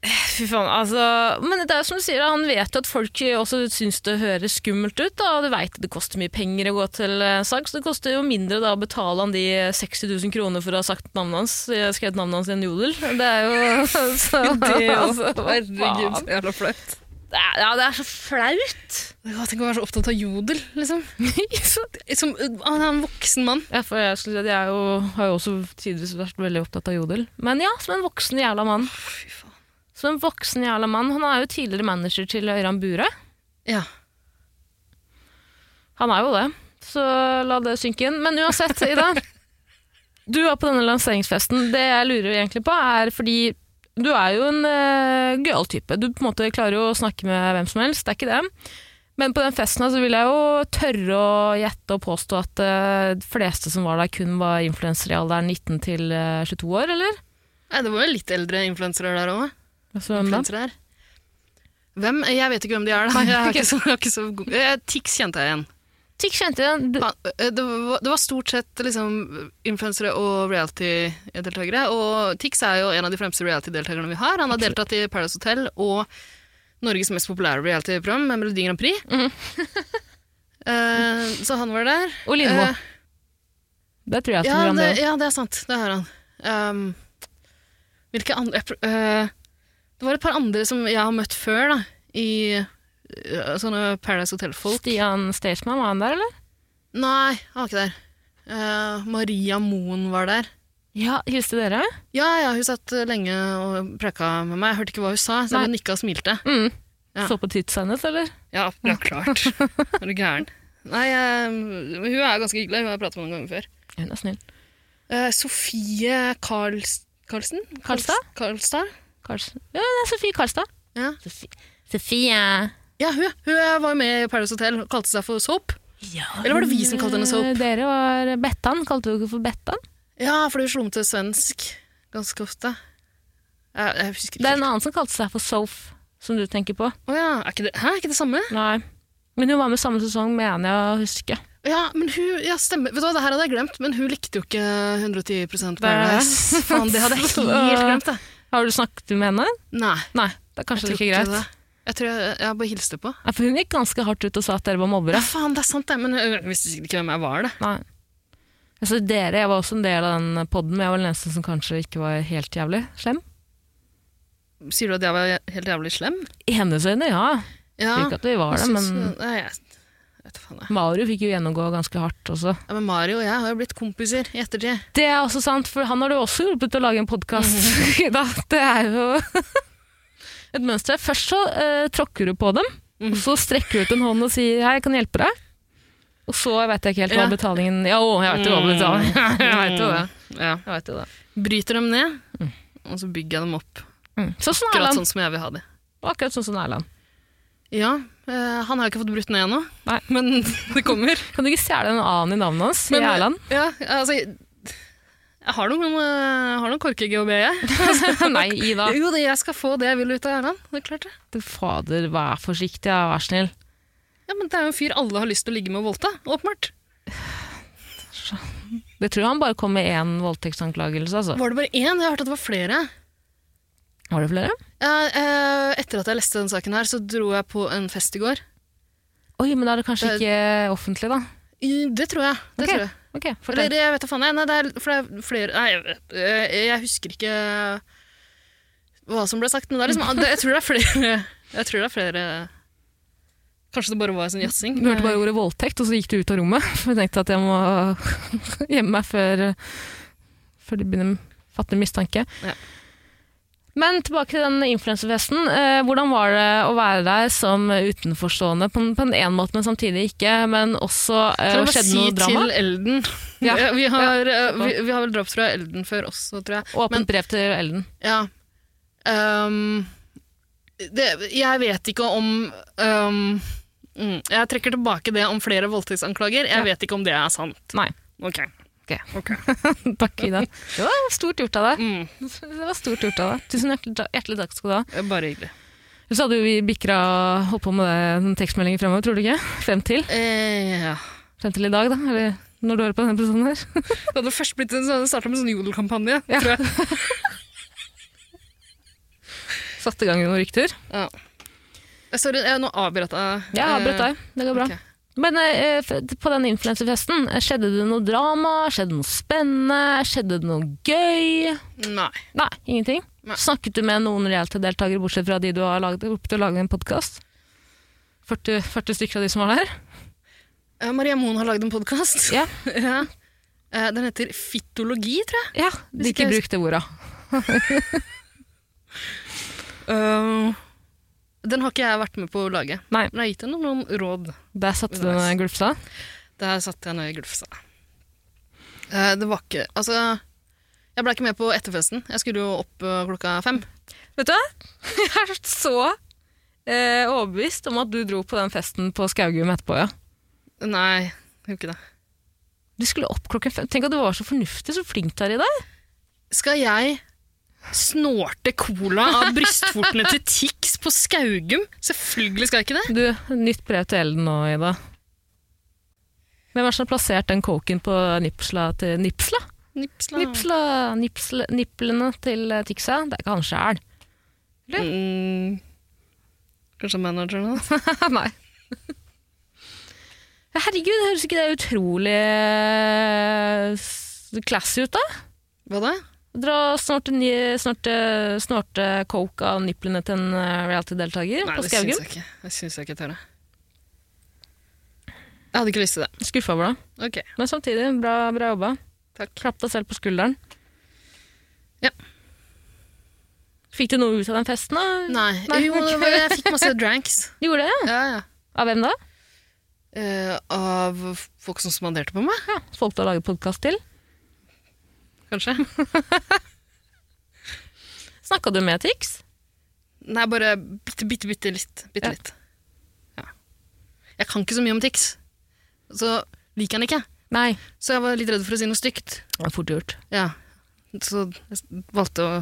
A: fy faen, altså, men det er jo som du sier, han vet jo at folk også syns det høres skummelt ut. Da, og du veit det koster mye penger å gå til uh, sak, så det koster jo mindre da, å betale han de 60 000 kroner for å ha sagt navnet hans, eh, skrevet navnet hans i en jodel. Det er jo så, altså, hva faen?
B: jævla flaut.
A: Det er- Ja, det er så flaut.
B: Tenk å være så opptatt av jodel, liksom. Som, eh, han er en voksen mann.
A: Ja, for jeg, skulle si at jeg er jo, har jo også tidvis vært veldig opptatt av jodel. Men ja, som en voksen jævla mann.
B: Fy faen.
A: Som en voksen jævla mann. Han er jo tidligere manager til Øyran Bure.
B: Ja.
A: Han er jo det. Så la det synke inn. Men uansett, Ida. Du var på denne lanseringsfesten. Det jeg lurer egentlig på, er fordi du er jo en uh, gøyal type. Du på en måte klarer jo å snakke med hvem som helst, det er ikke det. Men på den festen her så vil jeg jo tørre å gjette og påstå at eh, de fleste som var der, kun var influensere i alderen 19 til eh, 22 år, eller?
B: Nei, det var jo litt eldre influensere der òg.
A: Altså, hvem da?
B: influensere her. Hvem? Jeg vet ikke hvem de er. Da. Jeg er ikke så, jeg er ikke så god. Eh, Tix kjente jeg igjen.
A: Tikk kjente jeg. Du-
B: Pa- eh, Det var, det var stort sett liksom, influensere og reality-deltakere. Og Tix er jo en av de fremste reality-deltakerne vi har. Han har deltatt i Paradise Hotel og Norges mest populære reality-program, med Melodi Grand Prix. Eh, så han var der.
A: Og Lindmo.
B: Eh,
A: det tror jeg at
B: ja,
A: du gjør om
B: det,
A: det.
B: ja, det er sant. Det har han. Ehm, hvilke andre jeg pr- eh, Det var et par andre som jeg har møtt før, da. I eh, sånne Paradise Hotel-folk.
A: Stian Staysman, var han der, eller?
B: Nei, han var ikke der. Eh, Maria Moen var der.
A: Ja, hilste dere?
B: Ja, ja, hun satt eh, lenge og preka med meg. Jeg hørte ikke hva hun sa, så jeg
A: Nei.
B: bare nikka og smilte.
A: Mm.
B: Ja.
A: Så på tits hennes, eller?
B: Ja, ja klart. er du gæren? Nei, eh, hun er ganske hyggelig. Hun har jeg pratet med noen ganger før.
A: Hun er snill.
B: Eh, Sofie Karls Karlsen?
A: Karlstad?
B: Karls- Karlstad?
A: Karlsen. Ja, det er Sofie Karlstad.
B: Ja.
A: Sofie. Sofie.
B: Ja, hun, hun eh, var med i Paradise Hotel og kalte seg for Soap. Eller var det vi som kalte henne Soap?
A: Dere var Bettan. Kalte dere ikke for Bettan?
B: Ja, fordi hun slo om til svensk ganske ofte. Jeg, jeg husker
A: Det
B: ikke.
A: er en annen som kalte seg for Sof, som du tenker på.
B: Å ja, er ikke det, hæ, er ikke det samme?
A: Nei. Men hun var med samme sesong, mener jeg å huske.
B: Ja, men hun, ja, stemmer. Vet du hva, det her hadde jeg glemt, men hun likte jo ikke 110
A: Det
B: Paradise.
A: er-
B: Faen, det hadde jeg helt glemt, jeg.
A: Har du snakket med henne?
B: Nei,
A: Nei, det er kanskje
B: jeg
A: like
B: tror
A: greit.
B: ikke det. Jeg tror jeg, jeg bare hilste på.
A: Nei, for hun gikk ganske hardt ut og sa at dere var
B: Ja,
A: mobbere.
B: faen, det er sant det, men jeg visste sikkert ikke hvem jeg var, det.
A: Nei. Altså, dere, jeg var også en del av den podden, men jeg var den eneste som kanskje ikke var helt jævlig slem.
B: Sier du at jeg var helt jævlig slem?
A: I hennes øyne, ja.
B: Ja,
A: Ikke at vi var det,
B: jeg synes-
A: men
B: Nei, jeg jeg vet faen, jeg.
A: Mario fikk jo gjennomgå ganske hardt også.
B: Ja, men Mario og jeg har jo blitt kompiser i ettertid.
A: Det er
B: Mm.
A: også sant, for han har du også hjulpet til å lage en podkast. det er jo et mønster. Først så eh, tråkker du på dem,
B: Mm.
A: og så strekker du ut en hånd og sier 'hei, jeg kan hjelpe deg'. Og så veit jeg ikke helt hva
B: Ja. Mm.
A: betalingen Ja, å, jeg veit jo hva betalingen Jeg vet jo det.
B: Ja.
A: Jeg vet jo det.
B: Bryter dem ned, og så bygger jeg dem opp.
A: Mm. Sånn som
B: Akkurat
A: Erland.
B: sånn som jeg vil ha dem.
A: Akkurat sånn som Erland.
B: Ja, eh, han har jo ikke fått brutt ned ennå,
A: Nei.
B: men det kommer.
A: Kan du ikke stjele en annen i navnet hans?
B: Men,
A: i Erland?
B: Ja, altså, jeg har noen, eh, har noen korkeGHB, jeg.
A: Nei, Ida.
B: Jo, det, jeg skal få det jeg vil ut av Erland. Det er klart det.
A: Du fader, vær forsiktig, ja, vær snill.
B: Ja, men det er jo en fyr alle har lyst til å ligge med og voldta, åpenbart.
A: Det tror jeg han bare kom med én voldtektsanklagelse, altså.
B: Var det bare én? Jeg har hørt at det var flere.
A: Var det flere?
B: Ja, eh, etter at jeg leste den saken her, så dro jeg på en fest i går.
A: Oi, men da er det kanskje
B: Det-
A: ikke offentlig, da.
B: I- Det tror jeg. Det
A: Ok,
B: tror jeg.
A: Ok, fortell.
B: Eller jeg vet da faen. jeg. Nei, det er, for det er flere Nei, jeg, vet- eh, jeg husker ikke hva som ble sagt, men det er liksom, det, jeg tror det er flere Jeg tror det er flere Kanskje det bare var en sånn jazzing?
A: Du hørte bare ordet voldtekt, og så gikk du ut av rommet. For jeg tenkte at jeg må gjemme meg før, før de begynner å fatte mistanke.
B: Ja.
A: Men tilbake til den influenserfesten. Eh, hvordan var det å være der som utenforstående? På en, på en en måte, men samtidig ikke. Men også eh,
B: Kan jeg bare
A: skjedde
B: si
A: noe drama?
B: til Elden
A: Ja.
B: Eh, vi, har, eh,
A: på.
B: vi, vi har vel droppet fra Elden før også, tror jeg.
A: Åpent
B: Men-
A: brev til Ellen.
B: Ja. Ehm, det, jeg vet ikke om ehm, mm, Jeg trekker tilbake det om flere voldtektsanklager. Jeg
A: Ja.
B: vet ikke om det er sant.
A: Nei.
B: Ok.
A: Ok. Takk, Ida. Det var stort gjort av deg.
B: Mm,
A: Det var stort gjort av deg. Tusen hjertelig, ta- hjertelig takk skal du ha.
B: bare hyggelig.
A: Så hadde jo vi bikra holdt på med det, den tekstmeldingen fremover, tror du ikke? Frem til.
B: Eh, ja.
A: Frem til i dag, da. Eller når du hører på denne episoden her.
B: Det hadde først blitt en sånn, startet med en sånn jodelkampanje,
A: Ja.
B: tror jeg.
A: Satte i gang noen rykter.
B: Ja. Eh, Sorry, jeg, nå avbrøt jeg.
A: Ja, avbrøt
B: eh,
A: deg. Det går bra.
B: ok.
A: Men eh, f- på den influenserfesten, eh, skjedde det noe drama? Skjedde det noe spennende? Skjedde det noe gøy?
B: Nei.
A: Nei, ingenting.
B: Nei.
A: Snakket du med noen reality-deltakere, bortsett fra de du har laget, hjulpet til å lage en podkast? 40, 40 stykker av de som var der?
B: Eh, Maria Moen har lagd en podkast.
A: Ja.
B: Ja. Eh, Den heter Fittologi, tror jeg.
A: Ja, de
B: Hvis ikke
A: ikke
B: jeg-
A: brukte orda.
B: Den har ikke jeg vært med på å lage.
A: Nei.
B: Men jeg har gitt henne noen råd.
A: Der satte du den glufsa.
B: Der satte jeg ned i glufsa. Eh, Det var ikke Altså, jeg ble ikke med på etterfesten. Jeg skulle jo opp eh, klokka fem.
A: Vet du hva? Jeg er så eh, overbevist om at du dro på den festen på Skaugum etterpå, ja.
B: Nei, jeg gjorde ikke det.
A: Du skulle opp klokken fem. Tenk at du var så fornuftig, så flink du er i dag.
B: Skal jeg snorte cola av brystvortene til Tix på Skaugum? Selvfølgelig skal jeg ikke det.
A: Du, nytt brev til Elden nå, Ida. Hvem er det som har plassert den coken på nipsla til Nipsla?
B: Nipsla.
A: Nipsla, nipsla Niplene til eh, Tixa? Det er ikke han sjæl.
B: Mm, kanskje manageren hans?
A: Nei. Herregud, høres ikke det utrolig eh, s- classy ut, da?
B: Hva da?
A: Dra snorte, ni- snorte, eh, snorte coke av nipplene til en eh, reality-deltaker
B: Nei,
A: på
B: det syns
A: Skaugum.
B: jeg ikke. Det syns jeg ikke tør. Jeg Jeg hadde ikke lyst til det.
A: Skuffa over deg.
B: Ok,
A: Men samtidig, bra, bra jobba.
B: takk.
A: Klapp deg selv på skulderen.
B: Ja.
A: Fikk du noe ut av den festen, da?
B: Nei,
A: Nei,
B: jo, det
A: ok.
B: var, jeg fikk masse dranks.
A: Du gjorde det? ja.
B: Ja, ja.
A: Av hvem da?
B: Eh, av folk som spanderte på meg,
A: Ja, Folk du har laget podkast til?
B: kanskje.
A: Snakka du med Tix?
B: Nei, bare bitte, bitte, bitte litt. Bitte
A: Ja.
B: litt. Ja. Jeg kan ikke så mye om Tix, så liker han ikke.
A: Nei.
B: Så jeg var litt redd for å si noe stygt.
A: Det var fort gjort.
B: Ja. Så jeg s- valgte å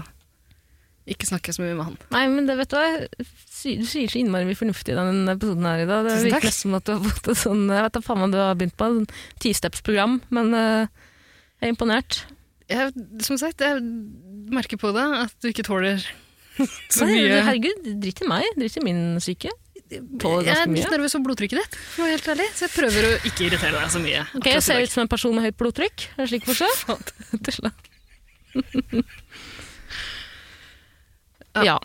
B: ikke snakke så mye med han.
A: Nei, men det vet du hva, Sy- du sier så innmari mye fornuftig i denne episoden her i dag. Det
B: Tusen takk.
A: virker nesten som at du har fått et sånn, jeg vet da faen hva du har begynt på, et sånn tisteps-program, men eh, jeg er imponert.
B: Jeg, som sagt, jeg merker på det at du ikke tåler så
A: Nei,
B: mye.
A: Herregud, dritt i meg, dritt i min syke. Tåler
B: Jeg
A: ganske
B: er litt
A: mye.
B: nervøs for blodtrykket ditt, for å være helt ærlig. Så jeg prøver å ikke irritere deg så mye.
A: Ok, jeg ser ut som en person med høyt blodtrykk, er det slik for seg? Tulla. ja.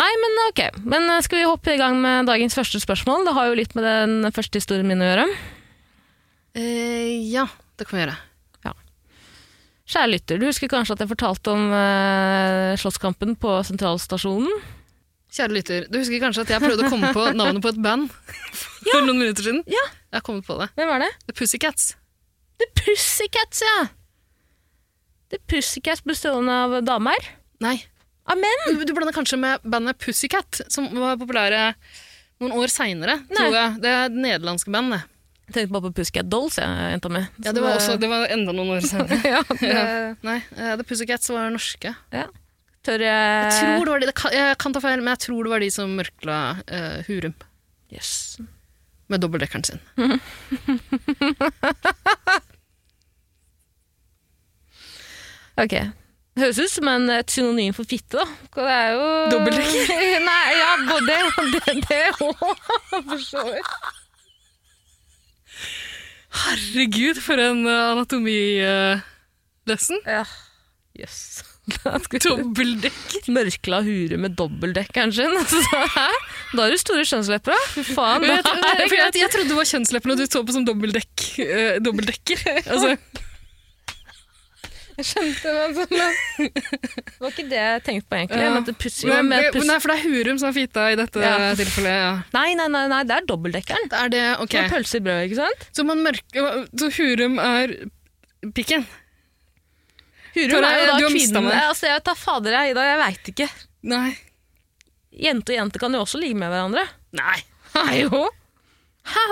A: Nei, men ok. Men eh, skal vi hoppe i gang med dagens første spørsmål? Det har jo litt med den første historien min å gjøre. Eh,
B: ja, det kan vi gjøre.
A: Kjære lytter, du husker kanskje at jeg fortalte om eh, slåsskampen på sentralstasjonen?
B: Kjære lytter, du husker kanskje at jeg prøvde å komme på navnet på et band for noen minutter siden?
A: Ja.
B: Jeg har kommet på det.
A: Hvem var det?
B: The Pussycats.
A: The Pussycats, ja! The Pussycats bestående av damer.
B: Nei.
A: Av menn.
B: Du, du blander kanskje med bandet Pussycat, som var populære noen år seinere, tror jeg. Det er det nederlandske bandet.
A: Jeg tenkte bare på Pussycat Dolls, jeg, jenta mi.
B: Ja, det var, også, det var enda noen år seinere.
A: ja, det,
B: Nei, eh, The Pussycats var norske.
A: ja. Tør
B: Jeg tror det var de, det kan, jeg kan ta feil, men jeg tror det var de som mørkla eh, Hurum
A: Yes.
B: med dobbeltdekkeren sin.
A: Ok. Høres ut som en, et synonym for fitte, da. Det er jo
B: Dobbeltdekker?
A: Nei, ja, både det- det òg, for så vidt.
B: Herregud, for en eh, anatomi-lesson.
A: Ja. Yes. Da skal vi-
B: Dobbeltdekk.
A: Mørkla hure med dobbeltdekkeren sin. Altså, hæ? da har du store skjønnslepper, da. Fy faen.
B: Jeg,
A: Det
B: jeg,
A: er
B: jeg, jeg trodde det var kjønnsleppene du så på som dobbeltdekk, eh, dobbeltdekker. Altså,
A: Jeg skjønte men sånn, men- Det var ikke det jeg tenkte på, egentlig.
B: Ja.
A: Men at det pusser jo
B: men,
A: med puss...
B: men det er for det er Hurum som er fita i dette
A: Ja.
B: tilfellet. ja.
A: Nei, nei, nei, nei, det er dobbeltdekkeren.
B: Det er det, ok.
A: Med pølse i brød, ikke sant?
B: Så, man mørker, så Hurum er pikken?
A: Hurum
B: Tora,
A: er jo da
B: du har mistet
A: kvinnen.
B: meg.
A: Altså, jeg tar fader jeg, Ida, jeg veit ikke.
B: Nei.
A: Jente og jente kan jo også ligge med hverandre.
B: Nei.
A: Nei, jo. Hæ,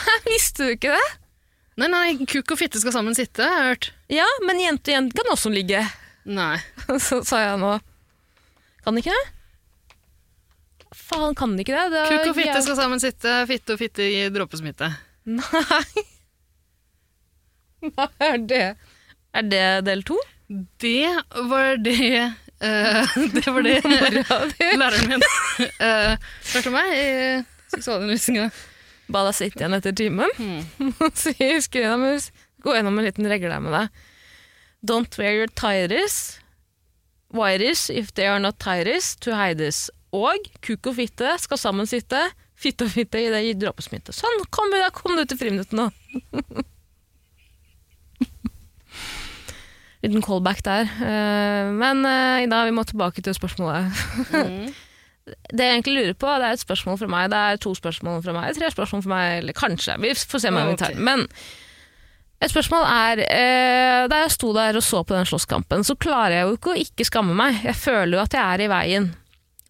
A: Hæ, visste du ikke det?
B: Nei, nei, kuk og fitte skal sammen sitte, har jeg hørt.
A: Ja, men jente og jente kan også ligge.
B: Nei.
A: Så sa jeg nå. Kan de ikke det? Faen, kan de ikke det? det er
B: Kuk og fitte
A: jæv-
B: skal sammen sitte, fitte og fitte i dråpesmitte.
A: Nei. Hva er det? Er det del to?
B: Det var det eh, Det var det læreren min eh, lærte meg i seksualundervisninga.
A: Ba deg sitte igjen etter timen. og si, husker du det, mus? Gå gjennom en liten regle her med deg. Don't wear your tires, wires if they are not tires, to hides. Og kuk og fitte skal sammen sitte, fitte og fitte i det i dråpesmitte. Sånn, kom, da kom du til friminuttet nå. Liten callback der. Eh, Men eh, Ida, vi må tilbake til spørsmålet. Det jeg egentlig lurer på, det er et spørsmål fra meg, det er to spørsmål fra meg, tre spørsmål fra meg, eller kanskje, vi får se om jeg tar.
B: Ok.
A: Men et spørsmål er, eh, da jeg sto der og så på den slåsskampen, så klarer jeg jo ikke å ikke skamme meg. Jeg føler jo at jeg er i veien.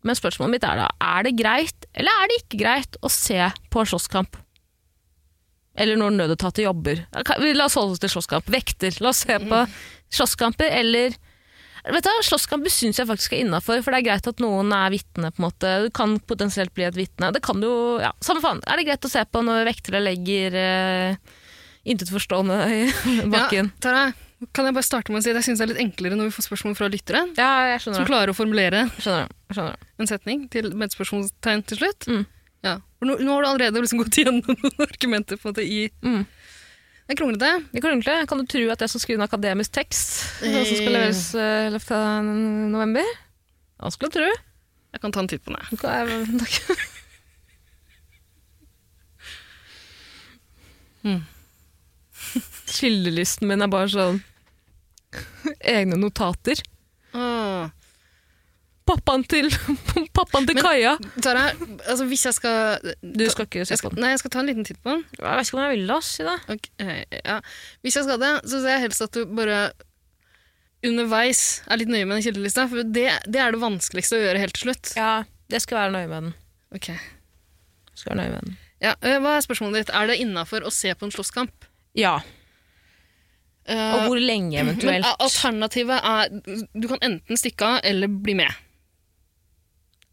A: Men spørsmålet mitt er da, er det greit, eller er det ikke greit å se på en slåsskamp? Eller når nødetatte jobber. Kan- vi- La oss holde oss til slåsskamp. Vekter. La oss se på slåsskamper eller Vet du, hva, Slåsskamper syns jeg faktisk er innafor, for det er greit at noen er vitne. på en måte. Du kan potensielt bli et vitne. Det kan jo, ja, Samme faen. Er det greit å se på når vektere legger eh, intetforstående i bakken?
B: Tara, kan jeg bare starte med å si at jeg syns det er litt enklere når vi får spørsmål fra lyttere,
A: Ja, jeg skjønner
B: som
A: det.
B: klarer å formulere
A: Skjønner det. Skjønner det.
B: en setning til, med et spørsmålstegn til slutt.
A: Mm.
B: Ja. For nå, nå har du allerede liksom gått igjennom noen argumenter på en måte i
A: Mm.
B: Det er kronglete.
A: Det kan, egentlig, kan du tro at jeg som skriver en akademisk tekst, som skal leveres eh, i løpet av november Han skulle tro.
B: Jeg kan ta en titt på den. jeg.
A: Hva er- Takk.
B: Mm.
A: Hmm. Kildelisten min er bare sånn Egne notater. Pappaen til, pappaen til
B: Men-
A: Kaja.
B: Tara, altså hvis jeg skal,
A: Du skal ikke se
B: jeg
A: på
B: skal
A: den.
B: Nei, jeg skal ta en liten titt på den.
A: Jeg vet ikke om jeg ville oss i dag.
B: Ok, eh, ja. Hvis jeg skal det, så ser jeg helst at du bare underveis er litt nøye med den kildelista, for det, det er det vanskeligste å gjøre helt til slutt.
A: Ja, jeg skal være nøye med den.
B: Ok.
A: Jeg Skal være nøye med den.
B: Ja, øh, hva er spørsmålet ditt? Er det innafor å se på en slåsskamp?
A: Ja.
B: Eh,
A: Og hvor lenge
B: men
A: eventuelt.
B: a- alternativet er Du kan enten stikke av eller bli med.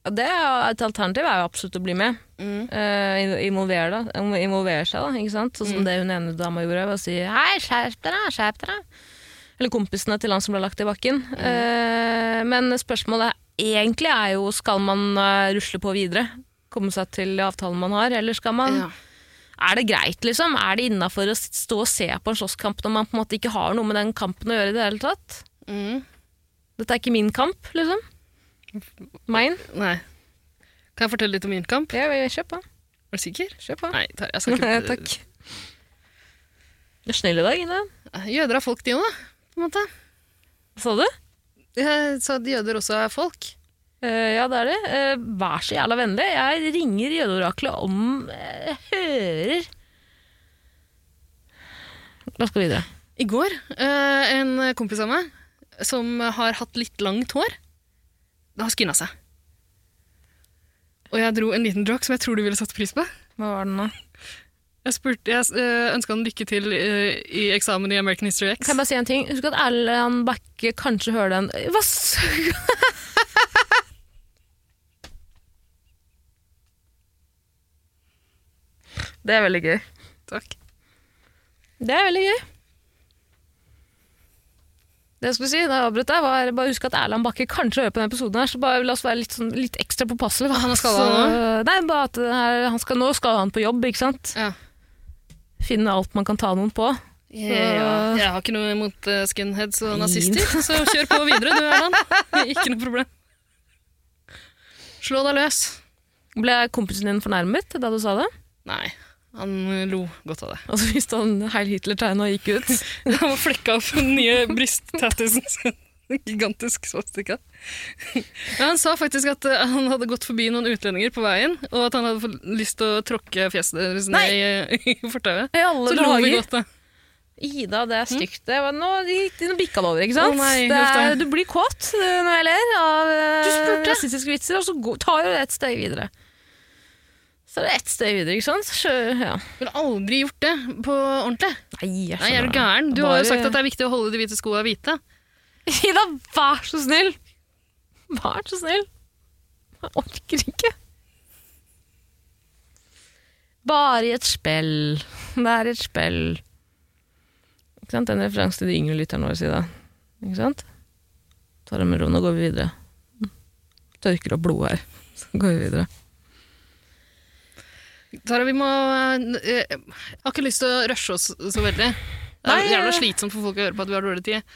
A: Ja, det er, jo- et alternativ er jo absolutt å bli med.
B: Mm.
A: Eh, in- involvere, da. Om å involvere seg, da. Ikke sant?
B: Mm.
A: Sånn som det hun ene dama gjorde. Ved å si 'hei, skjerp dere', skjerp dere. Eller kompisene til han som ble lagt i bakken.
B: Mm.
A: Eh, men spørsmålet egentlig er jo skal man eh, rusle på videre? Komme seg til avtalen man har, eller skal man
B: Ja.
A: Er det greit, liksom? Er det innafor å s- stå og se på en slåsskamp når man på en måte ikke har noe med den kampen å gjøre i det hele tatt?
B: Mm.
A: Dette er ikke min kamp, liksom. Mein.
B: Nei. Kan jeg fortelle litt om min kamp?
A: Ja, kjøp på.
B: Er du sikker?
A: Kjøp på.
B: Nei, Tarjei, jeg skal ikke
A: Takk. Du er snill i dag, Ine.
B: Jøder er folk, de òg, på en måte.
A: Hva sa du?
B: Jeg sa at jøder også er folk.
A: Eh, ja, det er det. Eh, vær så jævla vennlig. Jeg ringer jødeoraklet om eh, jeg hører La oss gå videre.
B: I går, eh, en kompis av meg som har hatt litt langt hår, det har skinna seg. Og jeg dro en liten joke som jeg tror du ville satt pris på.
A: Hva var den nå?
B: Jeg, spurte- jeg eh, ønska han lykke til eh, i eksamen i American History X.
A: Kan jeg bare si en ting? Husk at Erlend Bakke kanskje hører den Hva s- Det er veldig gøy.
B: Takk.
A: Det er veldig gøy. Det jeg skulle si, da jeg avbrøt deg, var bare husk at Erland Bakke kanskje hører på denne episoden her, så bare la oss være litt, sånn, litt ekstra påpasselige.
B: Han er skada
A: Så- Nei, bare at det her, han skal, nå skal han på jobb, ikke sant?
B: Ja.
A: Finne alt man kan ta noen på.
B: Ja, jeg har ikke noe imot eh, skinheads og nazister, så kjør på videre, du Erland. Ikke noe problem. Slå deg løs.
A: Ble kompisen din fornærmet da du sa det?
B: Nei, han lo godt av det.
A: Og så viste han Heil Hitler-tegnet og gikk ut.
B: Han var flekka opp den nye brysttattisen sin. Gigantisk svastika. Ja, han sa faktisk at eh, han hadde gått forbi noen utlendinger på veien, og at han hadde fått lyst til å tråkke fjeset deres ned i, i fortauet.
A: I alle
B: Så lo vi
A: dager.
B: godt, da.
A: Ida, det er stygt. Det var, nå gikk det- nå bikka det over, ikke sant?
B: Hm? Å nei,
A: det er,
B: hofta.
A: du blir kåt eh, når jeg ler av eh,
B: Du spurte.
A: rasistiske vitser, og så går- tar du det et steg videre. Så er det ett steg videre, ikke sant? Så, ja.
B: Men aldri gjort det på ordentlig.
A: Nei, jeg
B: Nei, er du
A: skjønner.
B: gæren? Du har jo
A: Bare-
B: sagt at det er viktig å holde de hvite skoa hvite.
A: Ida, vær så snill! Vær så snill! Jeg orker ikke. Bare i et spill. Det er et spill. Ikke sant? En referanse til de yngre lytterne våre, Ida. Ikke sant? Tar det med ro. Nå går vi videre. Tørker opp blodet her. Så går vi videre.
B: Tara, vi må eh, Jeg har ikke lyst til å rushe oss så veldig. Det
A: Nei,
B: er jævla
A: eh.
B: slitsomt for folk å høre på at vi har dårlig tid.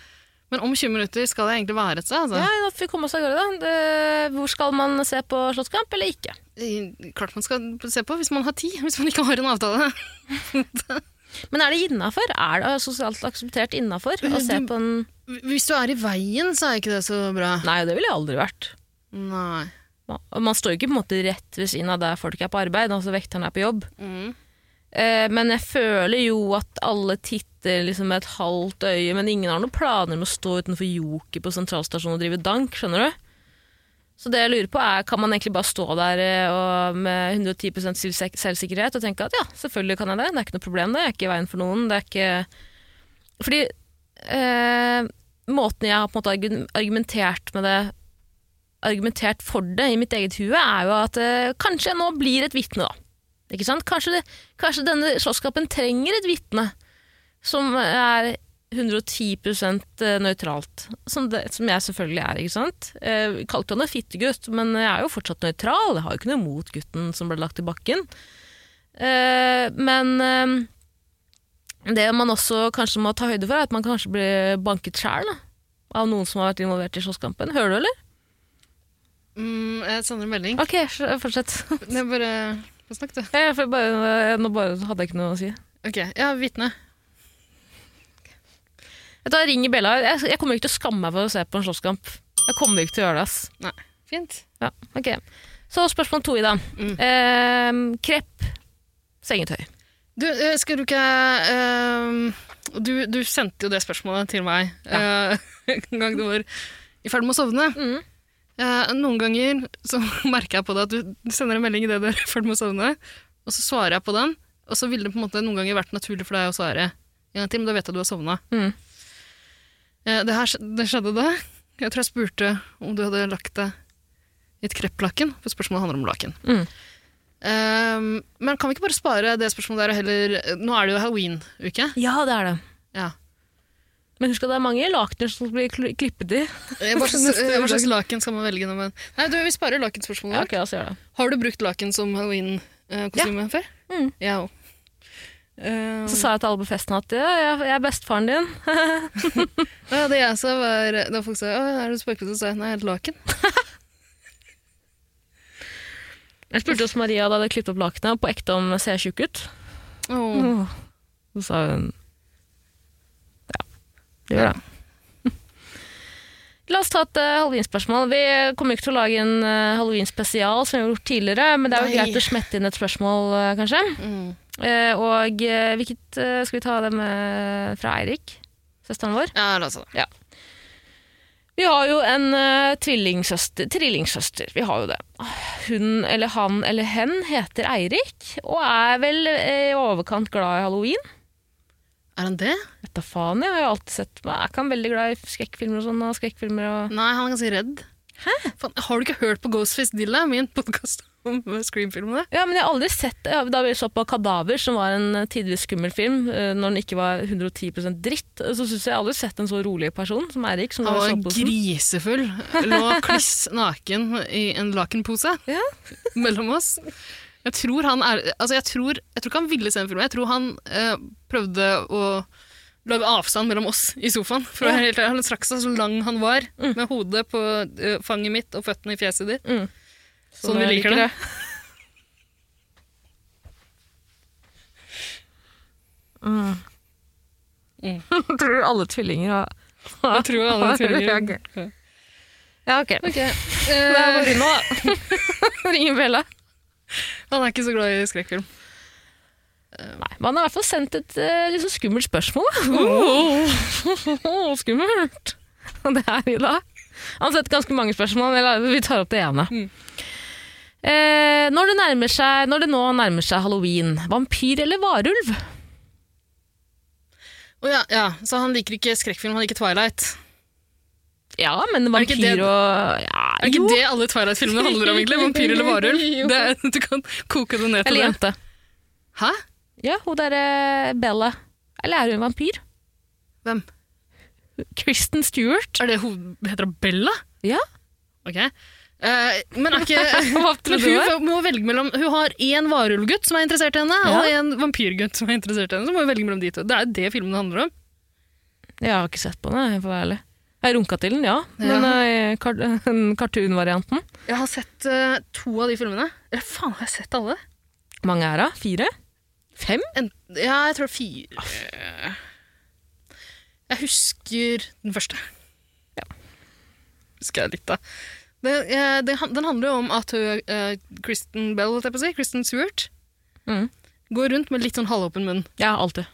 B: Men om 20 minutter skal det egentlig være et sted, altså.
A: Ja, da får vi komme oss av gårde, da. Det- Hvor skal man se på slåsskamp, eller ikke?
B: I- Klart man skal se på hvis man har tid, hvis man ikke har en avtale.
A: Men er det innafor? Er det altså, sosialt akseptert innafor å se
B: Du-
A: på en
B: Hvis du er i veien, så er ikke det så bra.
A: Nei, det ville jeg aldri vært.
B: Nei.
A: Og Man står jo ikke på en måte rett ved siden av der folk er på arbeid, altså vekterne er på jobb.
B: Mm.
A: Eh, men jeg føler jo at alle titter liksom med et halvt øye, men ingen har noen planer om å stå utenfor Joker på sentralstasjonen og drive dank, skjønner du? Så det jeg lurer på er, kan man egentlig bare stå der eh, og med 110 selvsik- selvsikkerhet og tenke at ja, selvfølgelig kan jeg det, det er ikke noe problem det, jeg er ikke i veien for noen, det er ikke... Fordi eh, måten jeg har på en måte argu- argumentert med det argumentert for det i mitt eget hue, er jo at eh, kanskje jeg nå blir et vitne, da. Ikke sant? Kanskje, det, kanskje denne slåsskampen trenger et vitne som er 110 eh, nøytralt. Som, det, som jeg selvfølgelig er, ikke sant. Eh, vi kalte han en fittegutt, men jeg er jo fortsatt nøytral. Jeg har jo ikke noe imot gutten som ble lagt i bakken. Eh, men eh, det man også kanskje må ta høyde for, er at man kanskje blir banket sjæl av noen som har vært involvert i slåsskampen. Hører du, eller?
B: Mm, jeg sender en melding.
A: Ok, s- fortsett.
B: Det er bare Få snakke, du.
A: Jeg får Eh, bare, nå bare hadde jeg ikke noe å si.
B: Ok, ja, vitne.
A: Vet du hva, ring i Bella. Jeg, jeg kommer ikke til å skamme meg for å se på en slåsskamp. Jeg kommer ikke til å gjøre det, ass.
B: Nei. Fint.
A: Ja, ok. Så spørsmål to, Ida.
B: Mm.
A: Eh, krepp, sengetøy.
B: Du, eh, skal du ikke eh, du, du sendte jo det spørsmålet til meg eh, en gang du var i ferd med å sovne.
A: Mhm.
B: Eh, noen ganger så merker jeg på det at du, du sender en melding i det du er i ferd med å sovne, og så svarer jeg på den, og så ville det på en måte noen ganger vært naturlig for deg å svare en gang til, men da vet jeg at du har sovna.
A: Mhm.
B: Eh, det her skj- det skjedde da. Jeg tror jeg spurte om du hadde lagt deg i et krepplaken, for spørsmålet handler om laken.
A: Mhm.
B: Eh, men kan vi ikke bare spare det spørsmålet der og heller Nå er det jo halloween-uke.
A: Ja, det er det.
B: Ja.
A: Men husk at det er mange lakener som blir kl- klippet i.
B: Eh, Hva slags,
A: Neste
B: eh, hva slags laken skal man velge? Når man... Nei, du, vi sparer lakenspørsmålet.
A: Ja, ok, la oss gjøre det.
B: Har du brukt laken som halloween-kostyme før?
A: Mm.
B: Jeg òg. Eh,
A: Så sa jeg til alle på festen at ja, jeg, jeg er bestefaren din.
B: ja, det jeg sa, var Da folk sa «Å, 'er du spøkelse', så sa jeg 'nei, jeg er et laken'.
A: Jeg spurte hos Maria da jeg hadde klippet opp lakenet, på ekte om jeg ser tjukk ut.
B: Åh.
A: Mm. Så sa hun Ja, det gjør det. La oss ta et eh, halloweenspørsmål. Vi kommer ikke til å lage en eh, halloweenspesial som vi har gjort tidligere, men det er jo
B: Nei.
A: greit å smette inn et spørsmål, eh, kanskje.
B: Mm.
A: Eh, og eh, hvilket eh, skal vi ta det med fra Eirik, søsteren vår?
B: Ja, la oss ta det.
A: Vi har jo en eh, tvillingsøster, trillingsøster, vi har jo det. Hun eller han eller hen heter Eirik, og er vel eh, i overkant glad i halloween.
B: Er han det?
A: Vet da faen, jeg har jo alltid sett meg. Er ikke han veldig glad i skrekkfilmer og sånn? Og skrekkfilmer og...
B: Nei, han er ganske redd. Hæ? Fan, har du ikke hørt på Ghostface Dilla, min podkast om eh, Scream-filmene?
A: Ja, men jeg har aldri sett ja, Da vi så på Kadaver, som var en eh, tidvis skummel film, eh, når den ikke var 110 dritt, eh, så syns jeg jeg aldri har sett en så rolig person som Eirik. som
B: Han
A: da vi
B: var
A: så på hos den.
B: grisefull. Lå kliss naken i en lakenpose
A: Ja.
B: mellom oss. Jeg tror han er altså jeg, tror, jeg tror ikke han ville se en film. Jeg tror han eh, prøvde å lage avstand mellom oss i sofaen. For å være helt ærlig, Han strakk seg så lang han var, med hodet på eh, fanget mitt og føttene i fjeset ditt.
A: Mm.
B: Sånn vi liker det.
A: Mm.
B: Mm.
A: Tror du alle tvillinger har
B: Jeg tror alle
A: Ja,
B: tvillinger.
A: ok. Ja, ok.
B: Ok.
A: Det er
B: Eh,
A: bare nå, da. Ringer Bella.
B: han er ikke så glad i skrekkfilm.
A: Nei, man har i hvert fall sendt et eh, litt så skummelt spørsmål. da. Oh. Åh, skummelt! Og det er i dag. Han har sett ganske mange spørsmål, men vi tar opp det ene.
B: Mm.
A: Eh, når, det nærmer seg, når det nå nærmer seg halloween, vampyr eller varulv?
B: Å Oh. ja, ja, så han liker ikke skrekkfilm, han liker Twilight.
A: Ja, men
B: Er det ikke
A: vampyr
B: det-
A: og ja,
B: Er ikke det alle Twilight-filmene handler om, egentlig? Vampyr eller varulv?
A: Jo.
B: Det er, du kan koke det ned til det.
A: Eller jente.
B: Hæ?
A: Ja, hun derre Bella. Eller er hun vampyr?
B: Hvem?
A: Kristen Stewart.
B: Er det hun heter hun Bella?
A: Ja.
B: Ok. Eh, men er ikke
A: Hva
B: Men
A: trodde du? det?
B: hun må velge mellom Hun har én varulvgutt som er interessert i henne, og én vampyrgutt som er interessert i henne. Så må hun velge mellom de to. Det er jo det filmen handler om.
A: Jeg har ikke sett på den, jeg får være ærlig. Jeg runka til den, ja.
B: Ja.
A: Men eh, kar den cartoon-varianten
B: Jeg har sett eh, to av de filmene. Eller faen, har jeg sett alle?
A: Mange er av? Fire? Fem?
B: En, ja, jeg tror fire Jeg husker den første.
A: Ja.
B: Husker jeg litt, da. Det, eh, det, han- den handler jo om at hun, eh, Kristen Bell, holdt jeg på å si, Kristen Stewart,
A: Mm.
B: går rundt med litt sånn halvåpen munn.
A: Ja, alltid.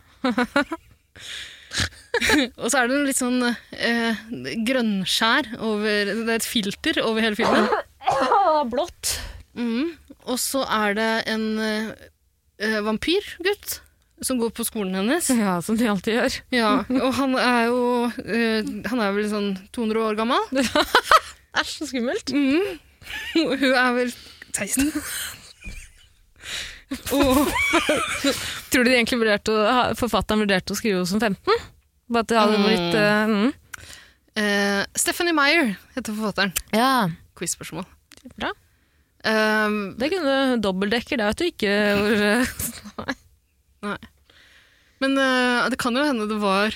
B: Og så er det en litt sånn eh, grønnskjær over Det er et filter over hele filmen.
A: Ah, Blått.
B: Mhm. Og så er det en eh, vampyrgutt som går på skolen hennes.
A: Ja, som de alltid gjør.
B: Ja, og han er jo eh, Han er vel sånn 200 år gammel.
A: Æsj, så skummelt.
B: Mhm. Og Hun er vel 16. Og
A: Tror du de egentlig vurderte å, ha- forfatteren vurderte å skrive henne som 15? Bare at det hadde
B: Mm.
A: blitt eh, mm.
B: eh, Stephanie Meyer heter forfatteren.
A: Ja,
B: Quiz-spørsmål.
A: Bra.
B: Eh,
A: det kunne dobbeltdekker. Det er at du ikke eh,
B: men eh, det kan jo hende det var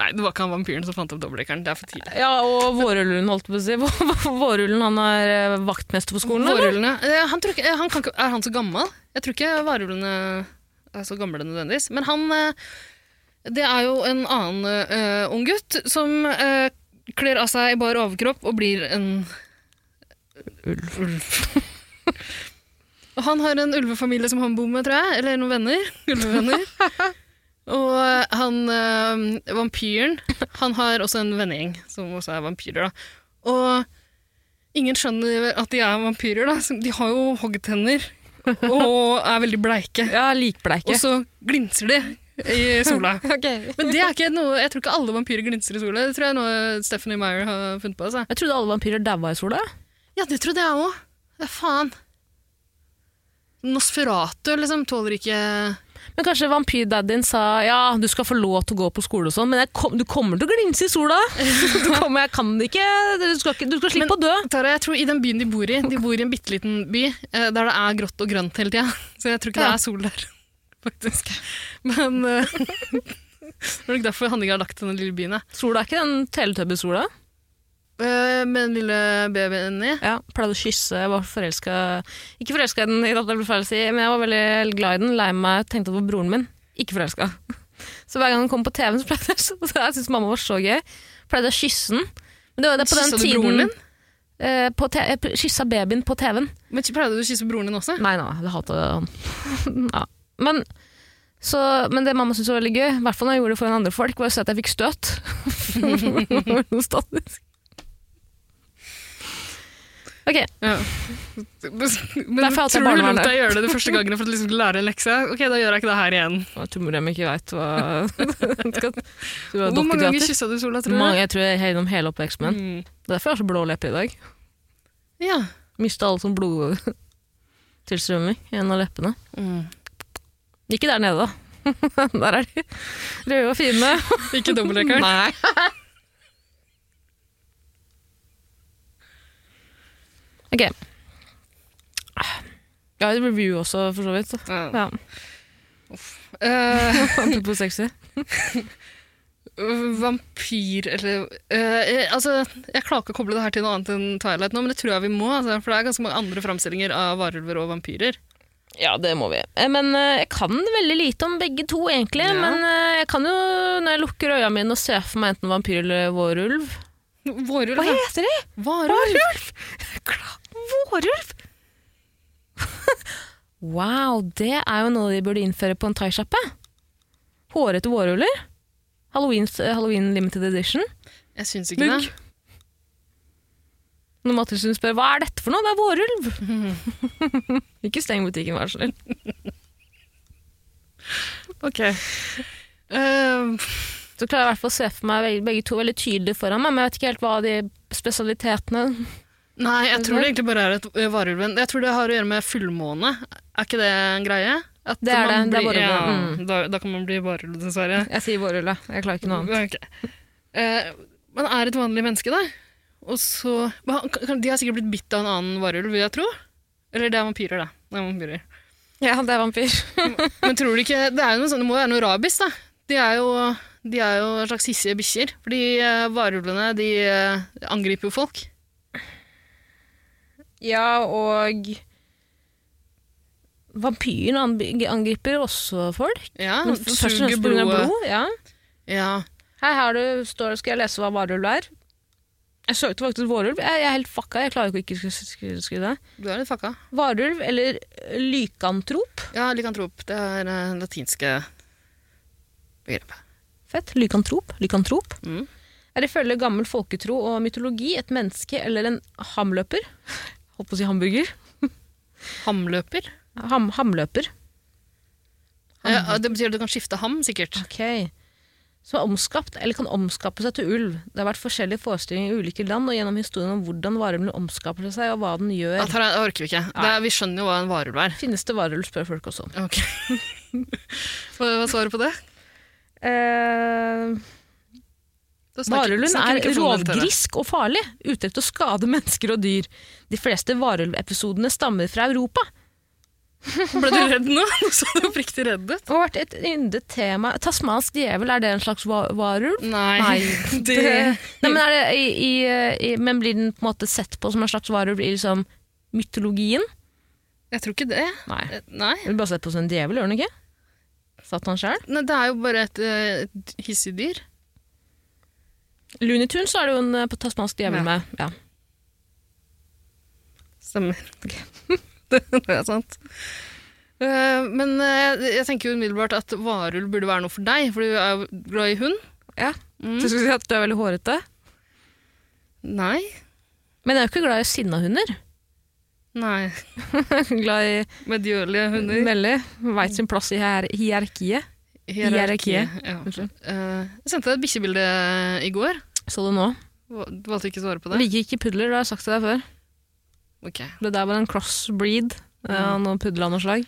B: Nei, det var ikke han vampyren som fant opp dobbeltdekkeren. Det er for tidlig.
A: Ja, og Vårullen, holdt jeg på å si. Vårullen, han er eh, vaktmester på skolen, eller?
B: Varulvene eh, han tror ikke, eh, han kan ikke, Er han så gammel? Jeg tror ikke varulvene er så gamle nødvendigvis. Men han eh, Det er jo en annen eh, ung gutt som eh, kler av seg i bar overkropp og blir en
A: Ulv.
B: Og han har en ulvefamilie som han bor med, tror jeg. Eller noen venner. Ulvevenner. Og eh, han eh, vampyren Han har også en vennegjeng som også er vampyrer, da. Og ingen skjønner at de er vampyrer, da. så De har jo hoggtenner og er veldig bleike.
A: Ja, likbleike.
B: Og så glinser de i sola.
A: Ok.
B: Men det er ikke noe, jeg tror ikke alle vampyrer glinser i sola. Det tror jeg er noe Stephanie Meyer har funnet på. Altså.
A: Jeg trodde alle vampyrer daua i sola.
B: Ja, det trodde jeg òg. Ja, faen. Nosferatu liksom tåler ikke
A: Men kanskje vampyrdaddyen sa ja, du skal få lov til å gå på skole og sånn, men jeg kom, du kommer til å glinse i sola. Du kommer, jeg kan det ikke, du skal, ikke, du skal
B: Men-
A: slippe å dø.
B: Tara, jeg tror I den byen de bor i, de bor i en bitte liten by eh, der det er grått og grønt hele tida. Så jeg tror ikke
A: Ja.
B: det er sol der, faktisk. Men eh, Det er nok derfor Hanninga har lagt denne lille byen. ja.
A: Sola er ikke den teletubby-sola.
B: Eh, med den lille babyen i.
A: Ja, pleide å kysse, jeg var forelska Ikke forelska i den, i dette, jeg ble feil å si, men jeg var veldig glad i den, lei meg, tenkte at det var broren min. Ikke forelska. Så hver gang han kom på TV-en, så pleide jeg, så jeg syntes mamma var så gøy, pleide jeg å kysse den. Men Men det var det på den
B: Kyssa du
A: tiden
B: broren din?
A: eh, på te- jeg p- kyssa babyen på TV-en.
B: Men Pleide du å kysse broren din også?
A: Nei, nei, jeg hater han. ja. men, så, men det mamma syntes var veldig gøy, i hvert fall når jeg gjorde det foran andre folk, var å se at jeg fikk støt. Det var noe statisk. Ok,
B: Ja. Men
A: Derfor hater jeg
B: tror du lot
A: barnevernet.
B: deg gjøre det de første gangene for å liksom lære en lekse? Ok, da gjør jeg ikke det her igjen.
A: jeg tror mor ikke veit hva
B: Hvor mange ganger kyssa du Sola, tror du?
A: Mange, jeg tror jeg er gjennom hele oppveksten min.
B: Mm.
A: Det er derfor jeg har så blå lepper i dag.
B: Ja.
A: Mista alle sånn blodtilstrømming gjennom leppene.
B: Mm.
A: Ikke der nede, da. der er de røde og fine.
B: Ikke dobbeltdekkeren?
A: Nei. ok. Jeg har et review også, for så vidt.
B: Ja.
A: Ja.
B: Eh,
A: Apropos sexy.
B: vampyr eller eh, Altså, jeg klarer ikke å koble det her til noe annet enn Twilight nå, men det tror jeg vi må, altså, for det er ganske mange andre framstillinger av varulver og vampyrer.
A: Ja, det må vi. Eh, Men eh, jeg kan veldig lite om begge to, egentlig.
B: Ja.
A: Men eh, jeg kan jo, når jeg lukker øynene mine og ser for meg enten vampyr eller vårulv
B: Vårulv? ja.
A: heter de?
B: Varulv?
A: Vårulv? wow, det er jo noe de burde innføre på en thaisjappe. Hårete vårruller. Halloween, eh, Halloween limited edition.
B: Jeg syns ikke det.
A: Når Mathisen spør hva er dette for noe, det er vårulv. Ikke steng butikken, vær så snill.
B: Ok. Eh,
A: Så klarer jeg i hvert fall å se for meg veg- begge to veldig tydelig foran meg, men jeg vet ikke helt hva de spesialitetene
B: nei, jeg tror
A: Ok.
B: det egentlig bare er et ø, varulven. Jeg tror det har å gjøre med fullmåne. Er ikke det en greie? At
A: Det er
B: man
A: det, det er
B: blir-
A: varulven,
B: Ja,
A: mm.
B: da, da kan man bli varulv, dessverre.
A: Jeg sier vårrulle, jeg klarer ikke noe annet.
B: Ok. Eh, man er et vanlig menneske, da. Og så Men han- kan- kan- De har sikkert blitt bitt av en annen varulv, vil jeg tro. Eller det er vampyrer, da. Det er vampyrer.
A: Ja, det er vampyr.
B: Men tror du ikke Det, er jo noe sånn, det må jo være noe rabies, da. De er jo, de er jo en slags hissige bikkjer. Fordi eh, varulvene de eh, angriper jo folk.
A: Ja, og Vampyren ang- angriper også folk.
B: Ja,
A: Men først og fremst på grunn av blod. Ja.
B: Ja.
A: Her, her du står, skal jeg lese hva varulv er. Jeg søkte faktisk vårulv. Jeg, jeg er helt fucka. Jeg klarer ikke å ikke skrive skrive det.
B: Du er litt fucka.
A: Varulv eller eh, lykantrop.
B: Ja, lykantrop. Det er eh, latinske begrepet.
A: Fett. Lykantrop. Lykantrop.
B: Mm.
A: Er ifølge gammel folketro og mytologi et menneske eller en hamløper. Holdt på å si hamburger.
B: Hamløper.
A: Ham, hamløper.
B: Ja, det betyr at du kan skifte ham, sikkert.
A: Ok. Som er omskapt eller kan omskape seg til ulv. Det har vært forskjellige forestillinger i ulike land og gjennom historien om hvordan varulven omskaper seg og hva den
B: Ja,
A: gjør.
B: tar jeg- orker vi ikke. Det er, vi skjønner jo hva en varulv er.
A: Finnes det varulv, spør folk også.
B: Ok. Hva hva er svaret på det?
A: Eh,
B: Da snakker-
A: varulven
B: snakker mikrofonen
A: er
B: til dere.
A: rovgrisk og farlig, ute etter å skade mennesker og dyr. De fleste varulvepisodene stammer fra Europa
B: Ble du redd nå? Nå så du oppriktig redd ut.
A: og har vært et yndet tema. Tasmansk djevel, er det en slags va- varulv?
B: Nei, det
A: Nei, men, er det i, i, i, men blir den på en måte sett på som en slags varulv i liksom, mytologien?
B: Jeg tror ikke det.
A: Nei.
B: Eh, Nei.
A: Du blir bare sett på som en djevel, gjør han ikke? Satan sjæl.
B: Nei, det er jo bare et, eh, et hissig dyr.
A: Looney Tunes er det jo en eh, på tasmansk djevel
B: Ja.
A: med. Ja.
B: Stemmer. det er sant. Eh, men eh, jeg tenker jo umiddelbart at varulv burde være noe for deg, for du er jo glad i hund.
A: Ja.
B: Mm.
A: Så skal vi si at du er veldig hårete.
B: Nei.
A: Men jeg er jo ikke glad i sinna hunder.
B: Nei.
A: Jeg er glad i
B: Medgjørlige hunder.
A: Veldig. Veit sin plass i hier hierarkiet. Hierarkiet.
B: Ja.
A: Unnskyld.
B: Eh, jeg sendte deg et bikkjebilde eh, i går.
A: Så du nå?
B: Val- Du valgte ikke å svare på det?
A: Liker ikke pudler, det har jeg sagt til deg før.
B: Ok.
A: Det der var en crossbreed eh, av noen pudler av noe slag.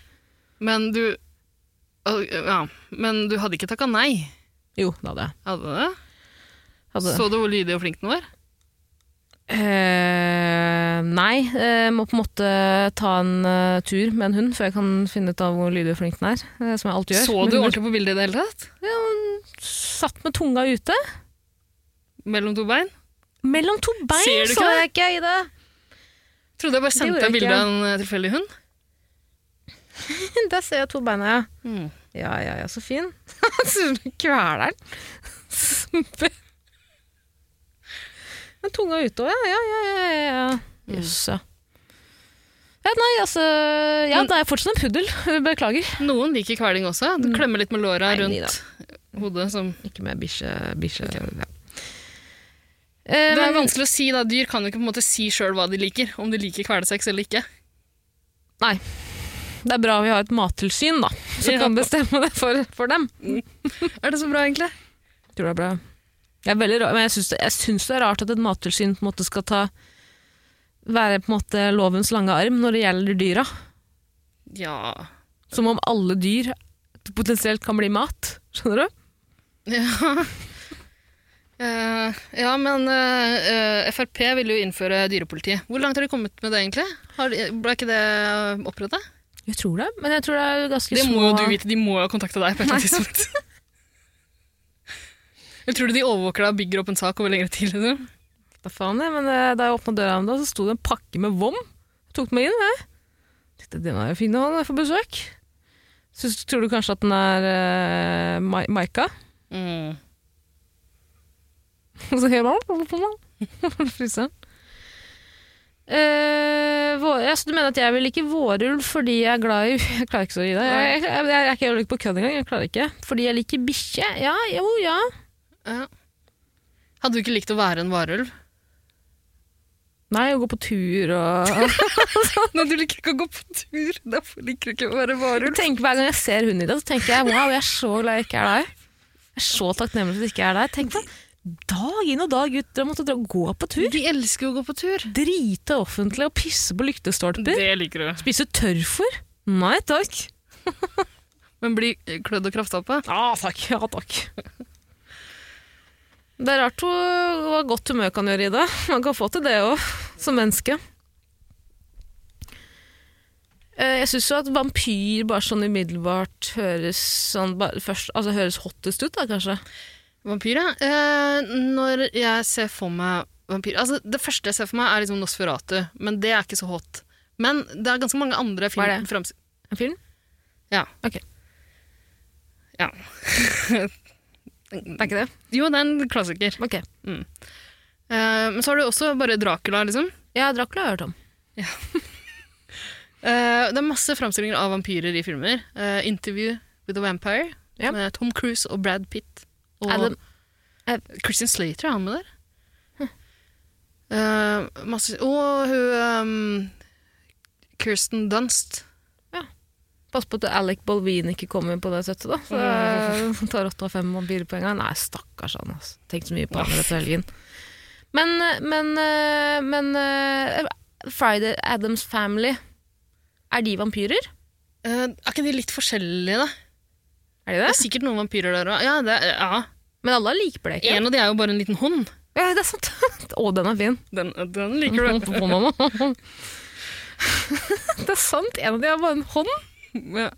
B: Men du Å, Ja, men du hadde ikke takka nei?
A: Jo, det hadde jeg.
B: Hadde du det?
A: Hadde.
B: Så du hvor lydig og flink den var?
A: Eh, nei, eh, må på en måte ta en eh, tur med en hund før jeg kan finne ut av hvor lydig og flink den er. eh, som jeg alltid gjør.
B: Så
A: med
B: du
A: hunder.
B: ordentlig på bildet i det hele tatt?
A: Ja, hun satt med tunga ute.
B: Mellom to bein?
A: Mellom to
B: Ser
A: bein
B: du ikke
A: så
B: det?
A: jeg ikke i det.
B: Trodde jeg bare
A: gjorde
B: sendte deg
A: jeg
B: bilde
A: ikke.
B: av en eh, tilfeldig hund.
A: Der ser jeg to beina, ja.
B: Mm.
A: Ja, ja, ja, så fin. Kveler den. Med tunga ute òg, ja. ja, ja, ja, ja. ja. Jøss, ja. Ja, nei, altså Ja,
B: Men-
A: det er fortsatt en puddel. Beklager.
B: Noen liker kveling også. Du klemmer litt med låra
A: Nei, men
B: rundt hodet. Som.
A: Ikke med bikkje ja.
B: Det
A: Eh,
B: er
A: men,
B: vanskelig å si, da. Dyr kan jo ikke på en måte si sjøl hva de liker. Om de liker kvelesex eller ikke.
A: det er bra vi har et mattilsyn, da, som
B: Ja.
A: kan bestemme det for, for dem.
B: Er det så bra, egentlig?
A: Tror det er bra. Det er veldig rart, men jeg syns det, jeg syns det er rart at et mattilsyn på en måte skal ta være på en måte lovens lange arm når det gjelder dyra.
B: Ja.
A: Som om alle dyr potensielt kan bli mat. Skjønner du?
B: Ja, Eh, ja men eh, eh, Frp vil jo innføre dyrepoliti. Hvor langt har de kommet med det, egentlig? Har, de- ble ikke det oppretta?
A: Jeg tror det, men jeg tror det er ganske
B: Det
A: små
B: må jo du vite. De må jo ha kontakta deg på et eller annet tidspunkt. Jeg tror du de overvåker deg og bygger opp en sak over lengre tid? Liksom.
A: Da faen jeg, men eh, da jeg åpna døra om det, så sto det en pakke med vom. Jeg tok den med inn, jeg. Tenkte, Den er jo fin å ha når jeg får besøk. Syns, tror du kanskje at den er eh, Ma- Maika?
B: Mm.
A: Og så hører man Fryseren. Eh, vår, ja, så du mener at jeg vil like vårulv fordi jeg er glad i Jeg klarer ikke så å gi deg. Jeg, jeg, jeg, jeg er ikke ulik på kødd engang. Jeg klarer ikke. Fordi jeg liker bikkje. Ja, jo, ja.
B: Ja. Hadde du ikke likt å være en varulv?
A: Nei, å gå på tur og
B: Nei, du liker ikke å gå på tur. Derfor liker du ikke å være varulv.
A: Tenk Hver gang jeg ser hunden i deg, så tenker jeg wow, jeg er så glad jeg ikke er der. Jeg er så takknemlig for at jeg ikke er der. Tenk deg, dag inn og dag ut dere måtte dra, gå på tur.
B: De elsker jo å gå på tur.
A: Drite offentlig og pisse på lyktestolper.
B: Det liker du.
A: Spise tørrfôr. Nei takk.
B: Men bli eh, klødd og krafta på.
A: Ja takk. Ja, takk. Det er rart hvor hva godt humør kan gjøre i det. Man kan få til det òg, som menneske. Eh, Jeg syns jo at vampyr bare sånn umiddelbart høres sånn bare først, altså høres hottest ut, da kanskje.
B: Vampyr, ja. Eh, når jeg ser for meg vampyr altså, Det første jeg ser for meg, er liksom Nosferatu, men det er ikke så hot. Men det er ganske mange andre film...
A: Hva er det?
B: frems-
A: En film?
B: Ja.
A: Ok.
B: Ja.
A: Det er ikke det?
B: Jo, det er en klassiker.
A: Ok.
B: Eh, men så har du også bare Dracula, liksom.
A: Ja, Dracula har jeg hørt om.
B: Eh, det er masse framstillinger av vampyrer i filmer. Eh, 'Interview with a Vampire'
A: Ja.
B: med Tom Cruise og Brad Pitt. Og
A: Adam- eh,
B: Christian Slater er han med der. Eh, masse Og hun ehm, Kirsten Dunst.
A: Pass på at Alec Bolvin ikke kommer på det settet, da. Så
B: Mm.
A: jeg tar åtte av fem vampyrpoeng. Nei, stakkars han, altså. Tenk så mye på han dette helgen. Men, men, eh, men eh, Friday Adams Family, er de vampyrer?
B: Eh, er ikke de litt forskjellige, da? Det
A: Er
B: er
A: de
B: sikkert noen vampyrer der òg. Ja, det er- ja.
A: Men alle er likbleke.
B: En av de er jo bare en liten hånd.
A: Ja, det er sant. Å, den er fin.
B: Den, den liker du.
A: det er sant. En av de har bare en hånd.
B: Ja.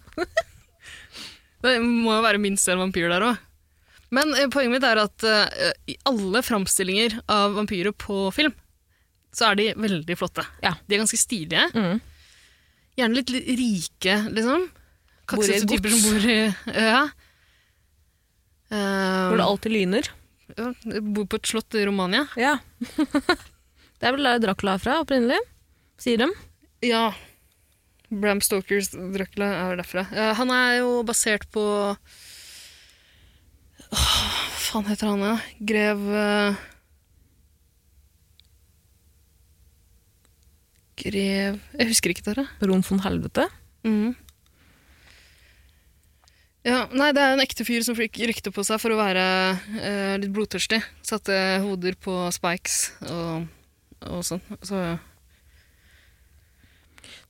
B: Det må jo være minst en vampyr der òg. Men eh, poenget mitt er at eh, i alle framstillinger av vampyrer på film, så er de veldig flotte.
A: Ja.
B: De er ganske stilige.
A: Mhm.
B: Gjerne litt li- rike, liksom.
A: Bor i et
B: Kaksete typer
A: gods.
B: som bor i Ja. Eh,
A: Hvor det alltid lyner.
B: Um, ja, bor på et slott i Romania.
A: Ja. det er vel der Dracula er fra, opprinnelig. Sier dem.
B: Ja. Bram Stokers Dracula er derfra. Eh, han er jo basert på Åh, Hva faen heter han, da? Grev eh, Grev Jeg husker ikke dere.
A: Ron von Helvete.
B: Mhm. Ja, nei, det er en ekte fyr som fikk rykte på seg for å være eh, litt blodtørstig. Satte hoder på spikes og, og sånn. Så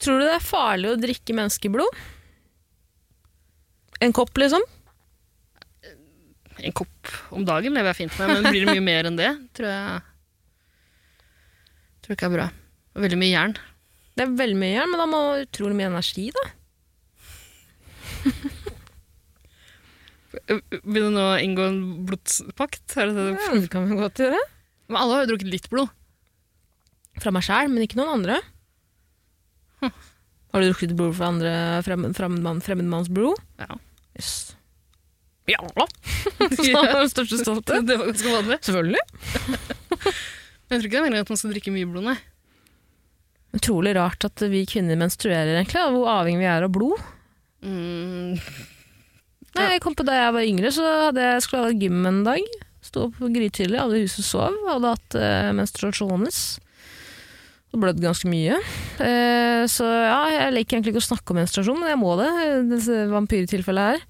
A: Tror du det er farlig å drikke menneskeblod? En kopp, liksom?
B: en kopp om dagen lever jeg fint med, men blir det mye mer enn det, tror jeg Tror ikke er bra. Og Veldig mye jern.
A: Det er veldig mye jern, men da må man ha utrolig mye energi, da.
B: Vil du nå inngå en blodspakt? Er det det?
A: det kan vi godt gjøre.
B: Men alle har jo drukket litt blod.
A: Fra meg sjæl, men ikke noen andre. Har du drukket blod fra andre fremmed, fremmedmann, fremmedmanns blod?
B: Ja.
A: Yes. Ja! Så det er den største stolthet.
B: Det var ganske vanlig.
A: Selvfølgelig.
B: Jeg tror ikke det er meningen at man skal drikke mye blod, nei.
A: Utrolig rart at vi kvinner menstruerer, egentlig, og hvor avhengig vi er av blod.
B: Mm,
A: Nei, jeg kom på Da jeg var yngre, så hadde jeg skulle ha gym en dag. Sto opp grytidlig, alle i huset sov. Hadde hatt eh, menstruasjones. Og blødd ganske mye. Eh, så ja, jeg liker egentlig ikke å snakke om menstruasjon, men jeg må det. i Dette vampyrtilfellet her.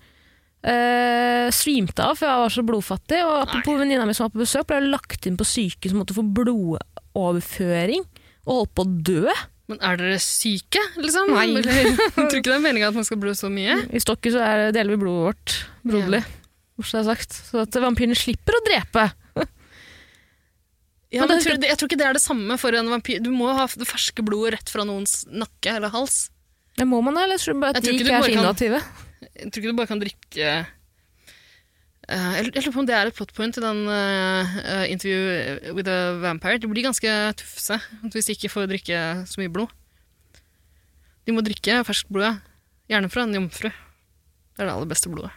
A: Eh, svimte av, for jeg var så blodfattig. Og apropos venninna mi som var på besøk, ble lagt inn på sykehus og måtte få blodoverføring. Og holdt på å dø.
B: Men er dere syke, liksom?
A: Nei.
B: Eller- Jeg tror ikke det er meningen at man skal blø så mye.
A: I stokket så er det deler vi blodet vårt broderlig. bortsett fra sagt. Så at vampyrene slipper å drepe.
B: Ja, men
A: Men det-
B: jeg, tror, jeg tror ikke det er det samme for en vampyr. Du må ha det ferske blodet rett fra noens nakke eller hals.
A: Ja, må man det, eller tror du bare at
B: Jeg tror ikke
A: de ikke,
B: du
A: er
B: bare
A: så
B: kan-
A: innovative?
B: Jeg tror ikke du bare kan drikke eh, Jeg jeg lurer på om det er et plot point i den eh, eh, Interview with a Vampire. De blir ganske tufse hvis de ikke får drikke så mye blod. De må drikke ferskt blod, ja. gjerne fra en jomfru. Det er det aller beste blodet.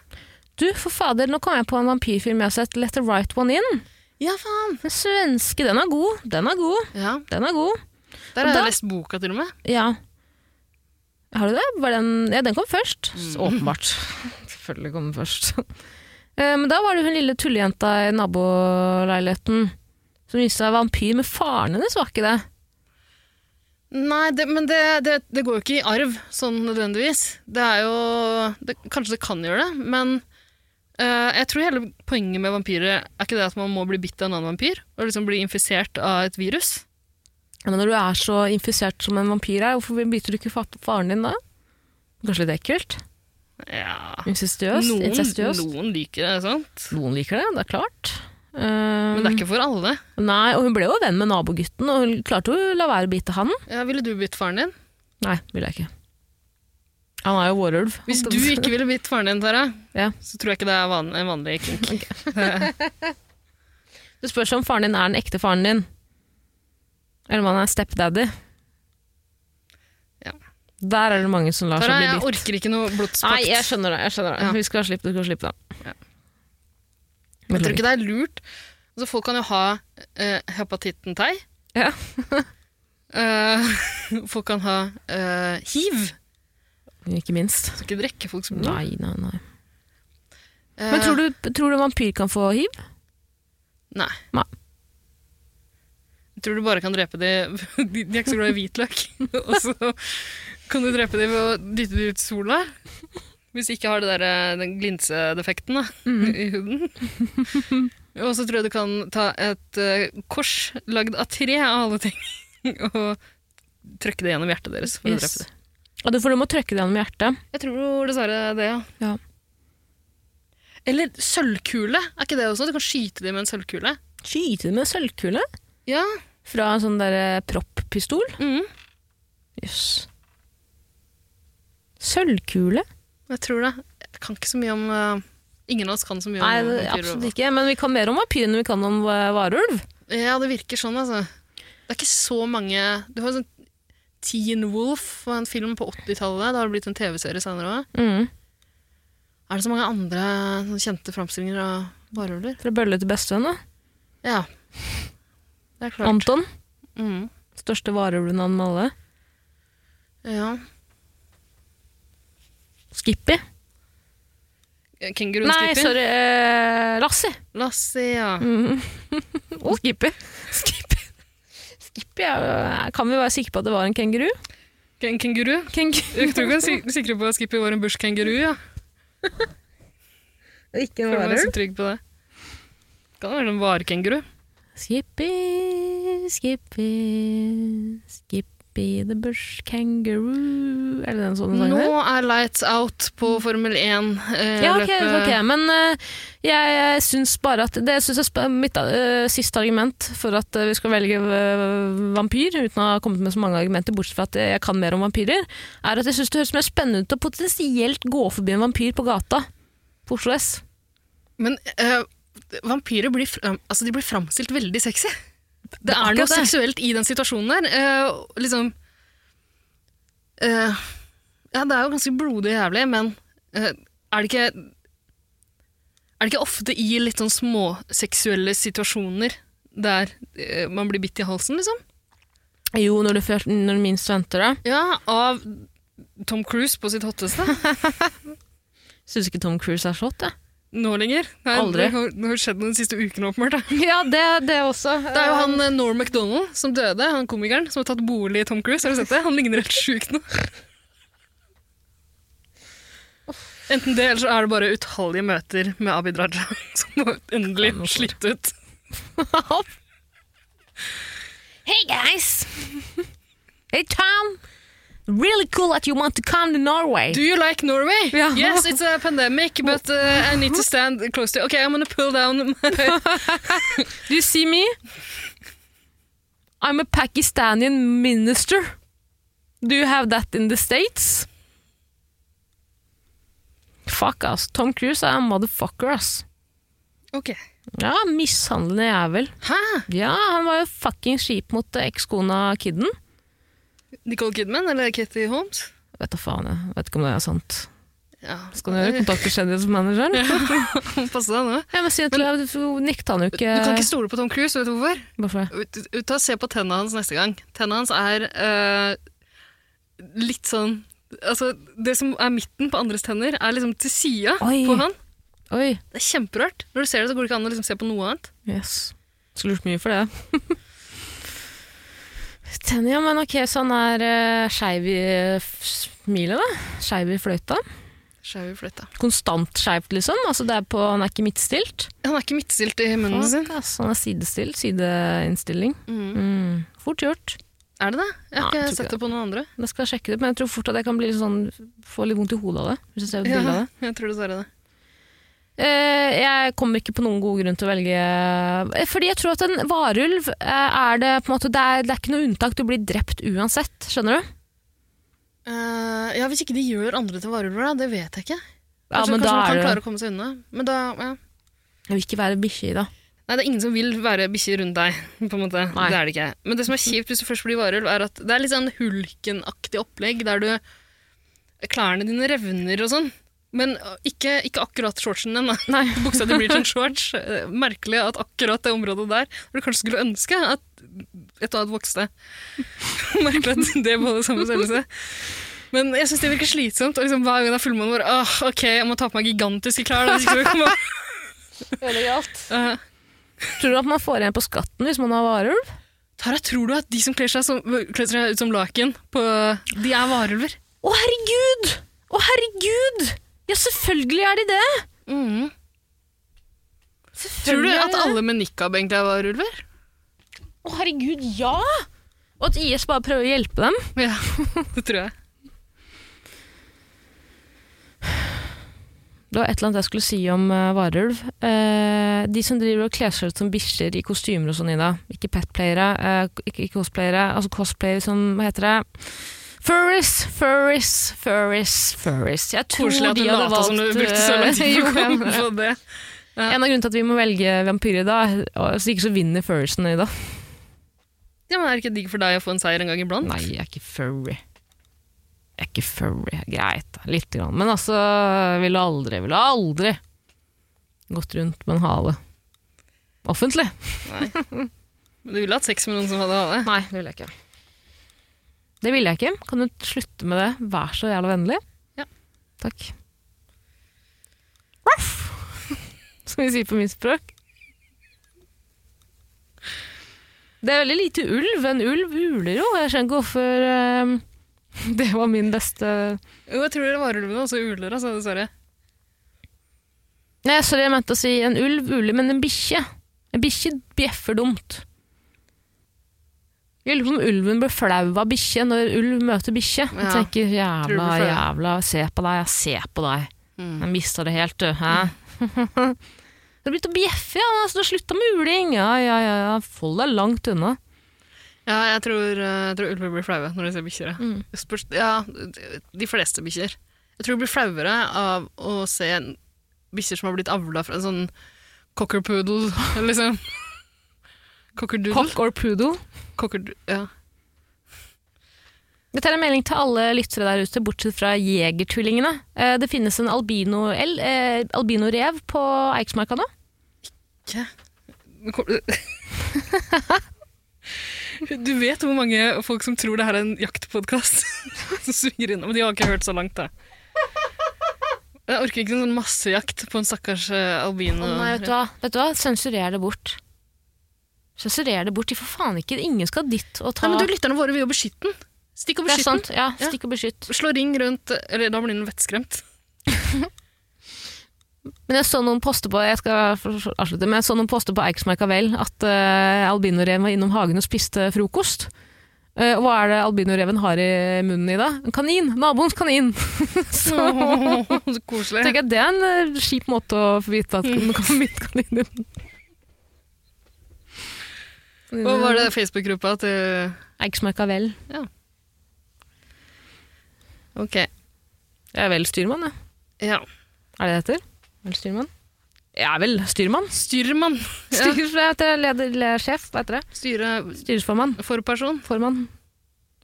A: Du, for fader, nå kom jeg på en vampyrfilm jeg har sett, Let the Right One In.
B: Ja, faen!
A: Den svenske, den er god, den er god,
B: Ja,
A: den er god.
B: Der har
A: Da-
B: jeg lest boka, til og med.
A: Ja. Har du det? Var den, ja, den kom først.
B: Mm.
A: Så Åpenbart. Selvfølgelig kom den først. Eh, Men da var det hun lille tullejenta i naboleiligheten som viste seg å være vampyr, men faren hennes var ikke det.
B: Nei, det, men det, det, det går jo ikke i arv sånn nødvendigvis. Det er jo det, Kanskje det kan gjøre det, men eh, jeg tror hele poenget med vampyrer er ikke det at man må bli bitt av en annen vampyr og liksom bli infisert av et virus.
A: Ja, Men når du er så infisert som en vampyr er, hvorfor biter du ikke fa- faren din da? Kanskje litt ekkelt?
B: Ja
A: Incestiøst?
B: noen,
A: Incestiøst?
B: noen liker det, sant?
A: Noen liker det, det er klart. Um,
B: Men det er ikke for alle.
A: Nei, og hun ble jo venn med nabogutten, og hun klarte jo å la være å bite han.
B: Ja, ville du bitt faren din?
A: Nei, ville jeg ikke. Han er jo vårulv.
B: Hvis du ikke ville bitt faren din, Tara,
A: Ja.
B: så tror jeg ikke det er van en vanlig kink.
A: Det spørs om faren din er den ekte faren din, eller om han er stepdaddy.
B: Ja.
A: Der er det mange som lar
B: Tara,
A: seg
B: jeg
A: bli bitt.
B: orker ikke noe blodspakt.
A: Nei, jeg skjønner det. jeg skjønner det.
B: Ja.
A: Vi skal slippe det, vi skal slippe det.
B: Ja. Jeg
A: Mm.
B: tror ikke det er lurt. Altså, folk kan jo ha eh, hepatitten tei.
A: Ja.
B: Eh, folk kan ha eh, hiv.
A: Ikke minst.
B: Så ikke drikke folk som
A: Nei, nei, nei.
B: Eh.
A: Men tror du, tror du vampyr kan få hiv?
B: Nei.
A: Nei.
B: Jeg tror du bare kan drepe de De, de er ikke så glad i hvitløk. Og så kan du drepe de ved å dytte de ut i sola. Hvis de ikke har det der, eh, den glinsedefekten da,
A: Mhm.
B: i huden. Og så tror jeg du kan ta et eh, kors lagd av tre av alle ting, og trykke det gjennom hjertet deres for å drepe
A: Yes. Ja, du, for du må trykke det gjennom hjertet.
B: det. Jeg tror dessverre det, ja.
A: Ja.
B: Eller sølvkule. Er ikke det også noe? Du kan skyte dem med en sølvkule.
A: Skyte det med sølvkule?
B: Ja.
A: Fra en sånn derre proppistol?
B: Mm.
A: Jøss. Sølvkule?
B: Jeg tror det. Jeg kan ikke så mye om eh, Ingen av oss kan så mye
A: Nei,
B: om
A: det-
B: vampyrer.
A: absolutt ikke. Men vi kan mer om vampyr enn vi kan om eh, varulv.
B: Ja, det virker sånn, altså. Det er ikke så mange Du har en sånn Teen Wolf var en film på 80-tallet. Det har blitt en TV-serie senere òg. Er det så mange andre sånn kjente framstillinger av varulver?
A: Fra bølle til bestevenn. da.
B: Ja. Det er klart.
A: Anton.
B: Mm.
A: Største varulvenavn med alle.
B: Ja.
A: Skippy.
B: Kenguruen
A: Nei,
B: Skippy.
A: sorry. Eh, Lassie.
B: Lassie, ja.
A: Og Skippy. Skippy. Skippy er, jo- kan vi være sikre på at det var en kenguru?
B: En kenguru.
A: Kenguru.
B: Jeg tror ikke jeg er sikre på at Skippy var en bushkenguru, ja.
A: Ikke
B: Jeg føler meg så trygg på det. Kan det være en varekenguru?
A: Skippy, Skippy, Skippy the bush kangaroo Er det den sånne sangen
B: Nå
A: der?
B: er Lights Out på Formel 1. Eh,
A: Ja, ok,
B: løpet.
A: ok, men eh, jeg, jeg syns bare at Det syns jeg sp- er mitt eh, siste argument for at eh, vi skal velge eh, vampyr, uten å ha kommet med så mange argumenter, bortsett fra at jeg kan mer om vampyrer, er at jeg syns det høres mer spennende ut å potensielt gå forbi en vampyr på gata på Oslo S.
B: Men eh, vampyrer blir, fram, altså, de blir framstilt veldig sexy. Det er noe
A: akkurat det.
B: seksuelt i den situasjonen der. Eh, og liksom eh, Ja, det er jo ganske blodig og jævlig, men eh, er det ikke er det ikke ofte i litt sånn småseksuelle situasjoner der eh, man blir bitt i halsen, liksom.
A: Jo, når du, først- når du minst venter det.
B: Ja, av Tom Cruise på sitt hotteste.
A: Syns ikke Tom Cruise er så hot, jeg.
B: Nå lenger. Det er-
A: Aldri.
B: Det har, det har skjedd den siste uken, åpenbart. da.
A: Ja, det, det også.
B: Det er jo han eh, Norm MacDonald som døde, han komikeren som har tatt bolig i Tom Cruise. Har du sett det? Han ligner helt sjukt nå. Enten det, eller så er det bare utallige møter med Abid Raja som må endelig slitt ut.
A: Hey guys! Hey Tom! Really cool that you want to come to Norway.
B: Do you like Norway?
A: Ja.
B: Yes, it's a pandemic, but uh, I need to stand close to you. Okay, I'm gonna pull down my...
A: Do you see me? I'm a Pakistani minister. Do you have that in the States? Fuck, ass. Tom Cruise er en motherfucker, ass.
B: Ok.
A: Ja, mishandlende jævel.
B: Hæ?
A: Ja, han var jo fucking skip mot eh, ekskona Kidden.
B: Nicole Kidman eller Katie Holmes?
A: Vet da faen, jeg vet ikke om det er sant.
B: Ja,
A: Skal du gjøre kontakt med kjendismanageren?
B: Passe deg nå.
A: Ja, men si at du nekta han jo
B: Du
A: ikke.
B: kan ikke stole på Tom Cruise, vet du hvorfor?
A: Hvorfor?
B: Ut, ut, ta og se på tennene hans neste gang. Tennene hans er eh, litt sånn Altså, det som er midten på andres tenner, er liksom til sida
A: Oi.
B: på han.
A: Oi,
B: Det er kjemperart. Når du ser det, så går det ikke an å liksom se på noe annet.
A: yes. Skulle lurt mye for det. Tenner, ja, men ok, så han er uh, skeiv i eh, f- milet, da. Skeiv i fløyta.
B: Skjev i fløyta.
A: Konstant skeivt, liksom. Altså, det er på, han er ikke midtstilt.
B: Han er ikke midtstilt i munnen sin.
A: Fuck, ass, han er sidestilt. Sideinnstilling.
B: Mm.
A: Mm. Fort gjort.
B: Er det det? Jeg har
A: Nei, jeg tror
B: ikke
A: ikke
B: sett det på noen andre.
A: Da skal jeg sjekke det, men jeg tror fort at jeg kan bli litt sånn, få litt vondt i hodet av det. Hvis jeg ser et bilde av det.
B: Ja, jeg tror dessverre det.
A: Eh, jeg kommer ikke på noen god grunn til å velge eh, Fordi jeg tror at en varulv eh, er det på en måte Det er, det er ikke noe unntak. Du blir drept uansett, skjønner du?
B: Eh, ja, Hvis ikke de gjør andre til varulver, da. Det vet jeg ikke.
A: Ja,
B: Kanskje, kanskje
A: men da
B: man
A: er
B: kan
A: det
B: klare å komme seg unna. Men da, ja.
A: Jeg vil ikke være bikkje i det.
B: Nei, det er ingen som vil være bikkje rundt deg, på en måte.
A: Nei.
B: Det er det ikke. Men det som er kjipt hvis du først blir varulv, er at det er litt sånn hulkenaktig opplegg, der du Klærne dine revner og sånn. Men ikke, ikke akkurat shortsen din. da.
A: Nei.
B: Buksa di blir til en shorts. Eh, Merkelig at akkurat det området der hvor du kanskje skulle ønske at et og annet vokste. Merkelig at det både samme størrelse. Men jeg syns det virker slitsomt. Og liksom, hver gang det er fullmåne, bare åh, ok, jeg må ta på meg gigantiske klær. Da, hvis ikke så kommer jeg- Eh,
A: Tror du at man får igjen på skatten hvis man har varulv?
B: Tara, tror du at de som kler seg, som, kler seg ut som laken, på, de er varulver?
A: Å, herregud! Å, herregud! Ja, selvfølgelig er de det!
B: Mm. Tror du
A: Selvfølgelig er
B: at
A: de det.
B: alle med nikab egentlig er varulver?
A: Å, herregud, ja! Og at IS bare prøver å hjelpe dem?
B: Ja, det tror jeg.
A: Det var et eller annet jeg skulle si om eh, varulv. Eh, de som driver og kler seg ut som bikkjer i kostymer og sånn, Ida. Ikke petplayere, eh, ikke, ikke cosplayere. Altså cosplayer som Hva heter det? Furries, furries, furries, furries. Jeg tror
B: Koselig at du
A: de hadde
B: lata
A: valgt
B: som du brukte så lang tid på å
A: eh, jo,
B: komme på det.
A: En av grunnene til at vi må velge vampyrer i dag, og- så ikke så vinner furriesen i dag.
B: Ja, men Er det ikke digg for deg å få en seier en gang iblant?
A: Nei, jeg er ikke furry. Jeg er ikke furry. Greit, da. Lite grann. Men altså, jeg ville aldri, ville aldri gått rundt med en hale. Offentlig.
B: Men Du ville hatt sex med noen som hadde hale?
A: Nei, det vil jeg ikke. Det vil jeg ikke. Kan du slutte med det? Vær så jævla vennlig.
B: Ja.
A: Takk. Som vi sier på mitt språk. Det er veldig lite ulv. En ulv uler jo. Jeg skjønner ikke hvorfor eh, det var min beste
B: Jo, jeg tror varulvene også uler, altså, dessverre.
A: Nei, sorry, jeg mente å si en ulv uler, men en bikkje. En bikkje bjeffer dumt. Jeg lurer på om ulven blir flau av bikkje når ulv møter bikkje. Jeg
B: Ja.
A: tenker
B: Tror du
A: jævla,
B: blir flau?
A: jævla, se på deg, jeg ser på deg.
B: Mm.
A: Jeg mista det helt, du. Hæ? det har begynt å bjeffe, ja. Altså, du har slutta med uling. Ja, ja, ja, ja. Hold deg langt unna.
B: Ja, jeg tror, eh, jeg tror ulver blir flaue når de ser bikkjer. ja.
A: Mm.
B: Spørs, ja, de- de fleste bikkjer. Jeg tror de blir flauere av å se en- bikkjer som har blitt avla fra en sånn cockerpoodle, liksom. Cockerdoodle?
A: Cock or poodle.
B: Cockerd ja.
A: Dette er en melding til alle lyttere der ute, bortsett fra jegertvillingene. Eh, Det finnes en albino-rev eh, albino på Eiksmarka nå.
B: Nå kom- Du vet hvor mange folk som tror det her er en jaktpodkast? som svinger innom. De har ikke hørt så langt, da. Jeg orker ikke en sånn massejakt på en stakkars eh, albino.
A: Å nei, vet du hva? Vet du hva? Sensurer det bort. Sensurer det bort. De får faen ikke Ingen skal dit og ta
B: Nei, men du, Lytterne våre vil jo beskytte den. Stikk og
A: Det er
B: beskytt den.
A: sant. Ja,
B: Ja.
A: stikk og beskytt.
B: Slå ring rundt Eller da blir den vettskremt.
A: Men jeg så noen poster på jeg skal avslutte, men jeg så noen poster på Eiksmarka Vel at uh, albinoreven var innom hagen og spiste frokost. Eh, og hva er det albinoreven har i munnen i dag? En kanin! Naboens kanin! så
B: Så koselig.
A: tenker jeg det er en eh, kjip måte å få vite at den kan mitt kanin i munnen.
B: Hva var det Facebook-gruppa til
A: Eiksmarka Vel.
B: Ok.
A: Jeg er vel styrmann, jeg.
B: Ja.
A: Er det det heter? Vel styrmann? Jeg er vel styrmann.
B: Styrmann. Ja.
A: Styr, jeg heter leder, leder, sjef, hva heter det?
B: Styre
A: Styresformann.
B: for person.
A: Formann.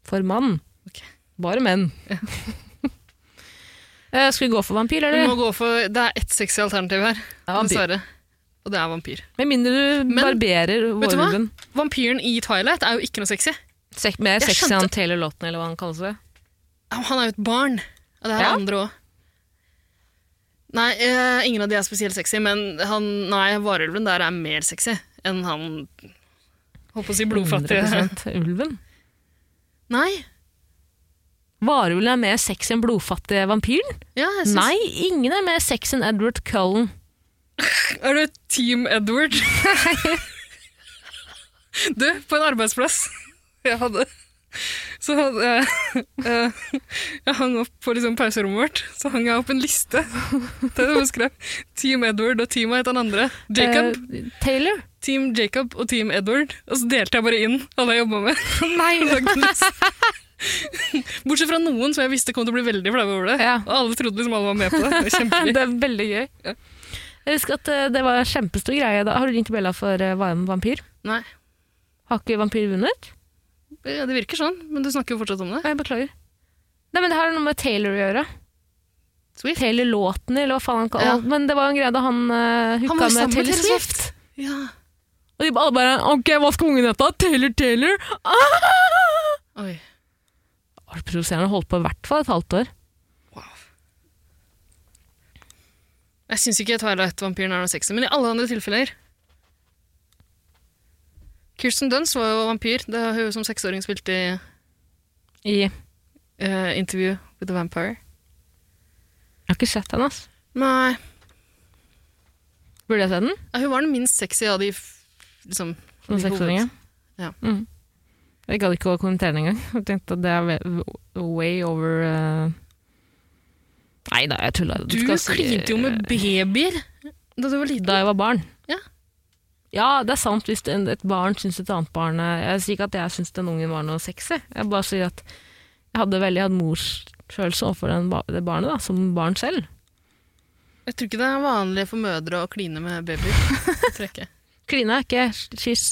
A: Formann.
B: Ok.
A: Bare menn. Eh, Skal vi gå for vampyr,
B: Vi må
A: eller?
B: gå for Det er ett sexy alternativ her,
A: Ja, vampyr.
B: dessverre. Og det er vampyr.
A: Med mindre du
B: Men-
A: barberer
B: Vet du hva?
A: vårhuden.
B: Vampyren i Twilight er jo ikke noe sexy.
A: Sek mer
B: Jeg
A: sexy
B: skjønte-
A: enn Taylor Lautner, eller hva han kalles det.
B: Han er jo et barn. Og det her er
A: Ja.
B: andre òg. Nei, eh, ingen av de er spesielt sexy, men han, nei, varulven der er mer sexy enn han Holdt på å si blodfattige.
A: 100% Ulven.
B: Nei.
A: Varulven er mer sexy enn blodfattige vampyren?
B: Ja, jeg syns
A: Nei, ingen er mer sexy enn Edward Cullen.
B: Er du Team Edward? du, på en arbeidsplass jeg hadde så hadde jeg, eh, jeg hang opp på liksom pauserommet vårt, så hang jeg opp en liste der jeg skrev Team Edward og Team hva het han andre? Jacob.
A: Eh, Taylor?
B: Team Jacob og Team Edward. Og så delte jeg bare inn alle jeg jobba med. Nei! Bortsett fra noen som jeg visste kom til å bli veldig flaue over det.
A: Ja.
B: Og alle trodde liksom alle var med på det. det var kjempegøy.
A: Ja, Det er veldig gøy. Jeg husker at eh, det var en kjempestor greie. Da. Har du ringt Bella for eh, varm vampyr?
B: Nei,
A: Har ikke vampyr vunnet?
B: ja, det virker sånn, men du snakker jo fortsatt om det.
A: Nei, jeg beklager. Nei, men det har noe med Taylor å gjøre.
B: Swift.
A: Taylor Låten, eller hva faen han kaller
B: Ja.
A: Men det var en greie da han uh,
B: var jo
A: hooka
B: sammen
A: med
B: med
A: Taylor
B: Taylor
A: Swift.
B: Ja.
A: Og de ba- alle bare OK, hva skal ungen hete? da? Taylor Taylor?
B: Oi.
A: Ah, Provoserende. Holdt på i hvert fall et halvt år.
B: Jeg syns ikke Twilight-vampyren er noe sexy, men i alle andre tilfeller Kirsten Dunst var jo vampyr. Det har hun som seksåring spilt i
A: I Jeg
B: eh, Interview with a Vampire.
A: har ikke sett henne, ass.
B: Nei,
A: Burde jeg se den?
B: ja, hun var den minst sexy av de f- liksom,
A: Som
B: de
A: seksåringen?
B: Ja.
A: Mm. Jeg gadd ikke å kommentere den engang. Jeg tenkte at det er ve- way over eh, Nei da, jeg tulla.
B: Du
A: skal si-
B: klinte jo med babyer da du var liten.
A: Da jeg var barn.
B: Ja.
A: Ja, det er sant hvis en- et barn syns et annet barn eh, Jeg sier ikke at jeg syns den ungen var noe sexy. Jeg bare sier at jeg hadde veldig jeg hadde morsfølelse overfor den ba- det barnet, da, som barn selv.
B: Jeg tror ikke det er vanlig for mødre å kline med babyer. Jeg tror ikke.
A: Kline er ikke s- kyss.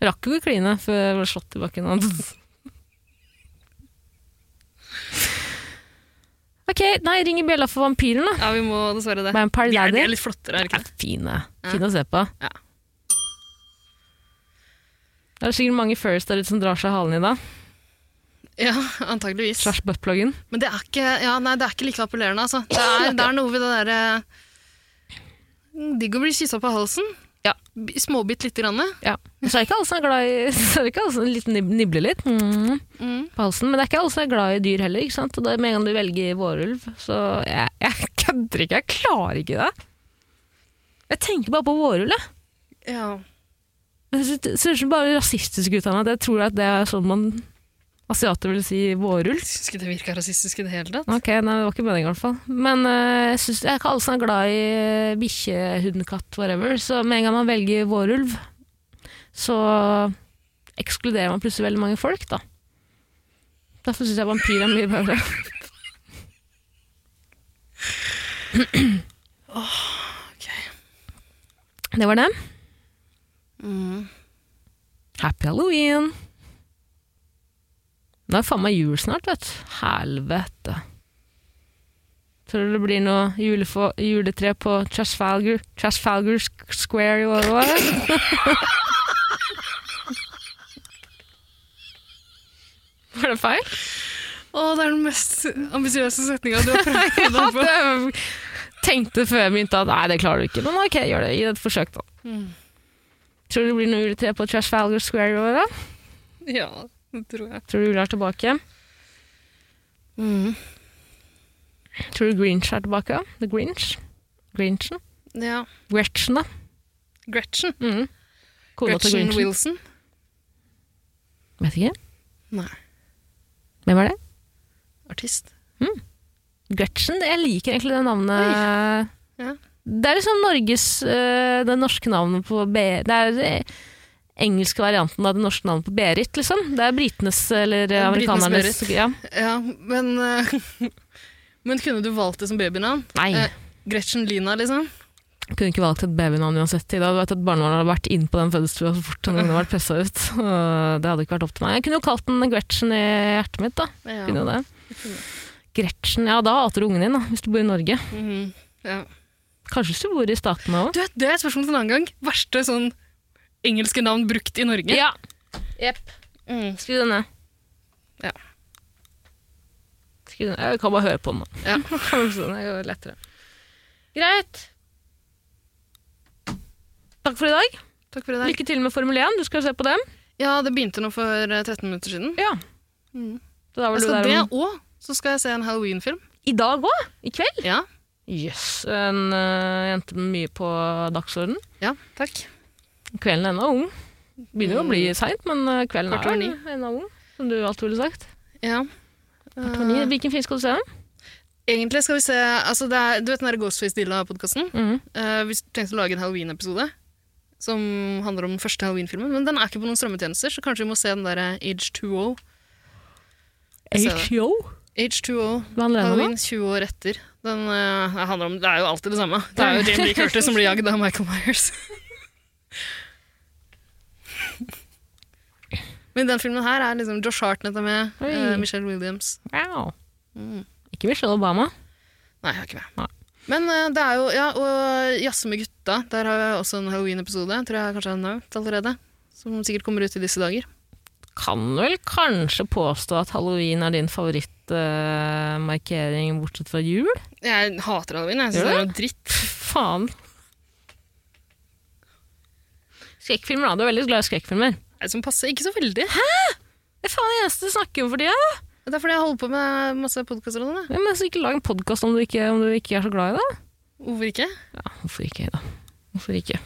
A: Rakk jo ikke kline før jeg ble slått i bakken. ok, nei, ring i bjella for vampyren, da.
B: Ja, vi må dessverre det.
A: Vampire
B: De er, de er
A: Daddy.
B: litt flottere, er de
A: Ja,
B: ikke det?
A: fine. Fine å se på.
B: Ja.
A: Det er sikkert mange furries der ute som drar seg i halen i dag.
B: Ja, antageligvis.
A: Slash buttpluggen.
B: Men det er ikke, ja, nei, det er ikke like appellerende, altså. Det er, det er noe ved det derre Digg å bli kyssa på halsen.
A: Ja.
B: B- Småbitt lite grann.
A: Ja. Så er det ikke alle som er glad i så er det ikke alle som litt nib nibler litt mm,
B: Mm.
A: på halsen. Men det er ikke alle som er glad i dyr heller. ikke sant? Og det er Med en gang du velger vårulv, så jeg, jeg kødder ikke. Jeg klarer ikke det. Jeg tenker bare på vårulv. jeg.
B: Ja.
A: Det ser- ser så bare rasistisk ut av meg. at Jeg tror at det er sånn man asiater vil si vårulv.
B: Jeg syns ikke det virka rasistisk i det hele tatt.
A: Ok, nei, det var ikke meningen i hvert fall. Men øh, jeg, synes, jeg er ikke alle som er glad i øh, bikkje, hund, katt, whatever. Så med en gang man velger vårulv, så ekskluderer man plutselig veldig mange folk, da. Derfor syns jeg vampyr er mye bedre.
B: ok.
A: Det var det.
B: Mm.
A: Happy halloween! Nå er det faen meg jul snart, vet du. Helvete. Tror du det blir noe julefo- juletre på Trasfalgar Trasfalgar Square i år òg? Var det feil?
B: Å, det er den mest ambisiøse setninga du har prøvd deg på.
A: Jeg eh, tenkte før jeg begynte at nei, det klarer du ikke. Men ok, gjør det. Gi det et forsøk, da. Tror du det blir noe juletre på Trashfalgar Square i år, da?
B: Ja, det tror jeg.
A: Tror du Ulla er tilbake?
B: Mm.
A: Tror du Grinch er tilbake? The Grinch? Grinchen?
B: Ja.
A: Gretchen, da.
B: Gretchen.
A: Mm. Kona til
B: Gretchen
A: Grinchen.
B: Wilson.
A: Vet ikke.
B: Nei.
A: Hvem er det?
B: Artist.
A: Gretchen? Jeg liker egentlig det navnet.
B: Ja.
A: Det er liksom Norges øh, Det norske navnet på B... Det er den engelske varianten av det norske navnet på Berit, liksom. Det er britenes eller eh,
B: er britenes
A: amerikanernes
B: Berit.
A: ja.
B: Ja, men eh, Men kunne du valgt det som babynavn?
A: Nei.
B: Eh, Gretchen Lina, liksom?
A: Kunne ikke valgt et babynavn uansett. I dag vet at barnevernet hadde vært inne på den fødestua så fort han hadde vært pressa ut. Og Det hadde ikke vært opp til meg. Jeg kunne jo kalt den Gretchen i hjertet mitt, da.
B: Ja.
A: Kunne jo det. Gretchen, ja da hater du ungen din, da, hvis du bor i Norge.
B: Mhm, ja.
A: Kanskje hvis du bor i Statene òg.
B: Du vet, Det er et spørsmål for en annen gang. Verste sånn engelske navn brukt i Norge?
A: Ja. Jepp.
B: Mm.
A: Skriv den ned.
B: Ja.
A: Skriv den ned. Jeg kan bare høre på den, da.
B: Ja.
A: sånn, det går lettere. Greit. Takk for i dag.
B: Takk for i dag.
A: Lykke til med Formel 1. Du skal se på dem.
B: Ja, det begynte nå for eh, 13 minutter siden.
A: Ja.
B: Mm.
A: Så da var
B: Jeg
A: du
B: skal
A: der
B: det,
A: om...
B: og så skal jeg se en Halloween-film.
A: I dag òg? I kveld?
B: Ja.
A: Jøss. Yes. En eh, jente med mye på dagsorden.
B: ja, takk.
A: Kvelden er ennå ung. Begynner jo å bli seint, men eh, kvelden
B: Kvart over
A: er
B: ni.
A: ennå ung. Som du alltid ville sagt.
B: Ja. Eh,
A: Kvart over ni. Hvilken film skal du se? den?
B: Egentlig skal vi se altså det er, Du vet den der Ghostface Dilla-podkasten?
A: Mhm.
B: Eh, vi tenkte å lage en Halloween-episode som handler om den første Halloween-filmen. Men den er ikke på noen strømmetjenester, så kanskje vi må se den der eh, H2O. Jeg ser det.
A: HBO?
B: H2O
A: Hva handler den om?
B: Halloween 20 år etter. Den, eh, det handler om, det er jo alltid det samme. Det er jo Jamie Lee Curtis som blir jagd av Michael Myers. Men den filmen her er liksom Josh Hartnett er med,
A: Oi.
B: eh, Michelle Williams
A: Wow.
B: Mm.
A: Ikke Michelle Obama.
B: Nei, jeg er ikke med.
A: Nei.
B: Men eh, det er jo Ja, og Jazze med gutta. Der har jeg også en Halloween-episode. Tror jeg kanskje jeg har nevnt allerede. Som sikkert kommer ut i disse dager.
A: Kan vel kanskje påstå at halloween er din favorittmarkering bortsett fra jul?
B: Jeg hater halloween. Jeg synes
A: Gjør
B: det
A: du
B: er noe dritt.
A: Faen. Skrekkfilmer, da. Du er veldig glad i skrekkfilmer.
B: Nei, Som passer ikke så veldig.
A: Det er faen det eneste du snakker om for tida.
B: Det er fordi jeg holder på med masse podkaster og sånn. da.
A: Ja, men så ikke lag en podkast om, du ikke- om du ikke er så glad i det.
B: Hvorfor ikke?
A: Ja, hvorfor ikke, da? Hvorfor ikke?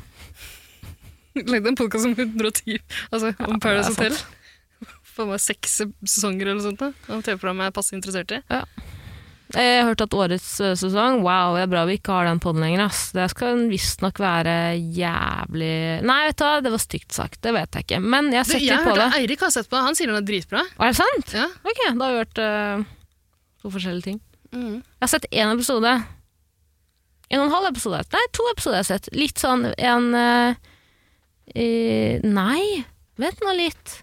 B: Lagde en podkast om 110, altså om Paradise
A: det er
B: Hotel. Faen meg seks sesonger eller noe sånt. da, Av TV-programmet jeg er passe interessert i.
A: Jeg har hørt at årets eh, sesong Wow, det er bra vi ikke har den podden lenger, ass. Det skal visstnok være jævlig Nei, vet du hva, det var stygt sagt. Det vet jeg ikke. Men jeg
B: Du,
A: setter
B: jeg
A: på
B: hørte
A: det.
B: Eirik har sett på det, han sier den er dritbra.
A: Er det sant?
B: Ja.
A: Ok, da har vi hørt eh, to forskjellige ting.
B: Mm.
A: Jeg har sett én episode. En og en halv episode. Nei, to episoder jeg har sett. Litt sånn en eh, eh, Nei, vent nå litt.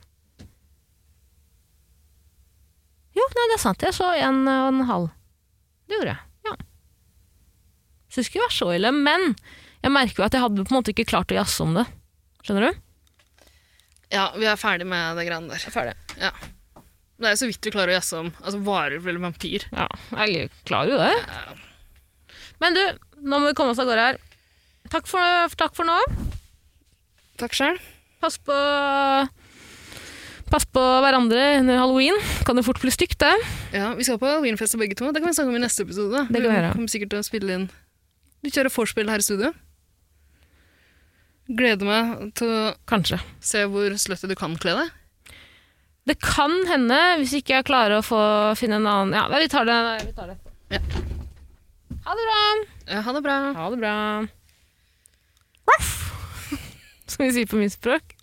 A: Jo, nei, det er sant. Jeg så en og en halv. Det gjorde jeg. Ja. Syns ikke det var så ille, men jeg merker jo at jeg hadde på en måte ikke klart å jazze om det. Skjønner du?
B: Ja, vi er ferdig med det greiene der. Ja. Det er jo så vidt vi klarer å jazze om. Altså, Varer vel vampyr?
A: Ja, jeg klarer jo det. Men du, nå må vi komme oss av gårde her. Takk for, takk for nå.
B: Takk sjøl.
A: Pass på Pass på hverandre under halloween. Kan det fort bli stygt, det.
B: Ja, vi skal på halloweenfest begge to. Det kan vi snakke om i neste episode. da.
A: Det kan vi gjøre.
B: kommer sikkert til å spille inn Vi kjører vorspiel her i studio. Gleder meg til å
A: Kanskje.
B: se hvor slutty du kan kle deg.
A: Det kan hende, hvis ikke jeg klarer å få finne en annen Ja, vi tar det, vi tar det etterpå.
B: Ja.
A: Ha det bra!
B: Ja, Ha det bra.
A: Ha det bra. Ruff! Som vi sier på mitt språk.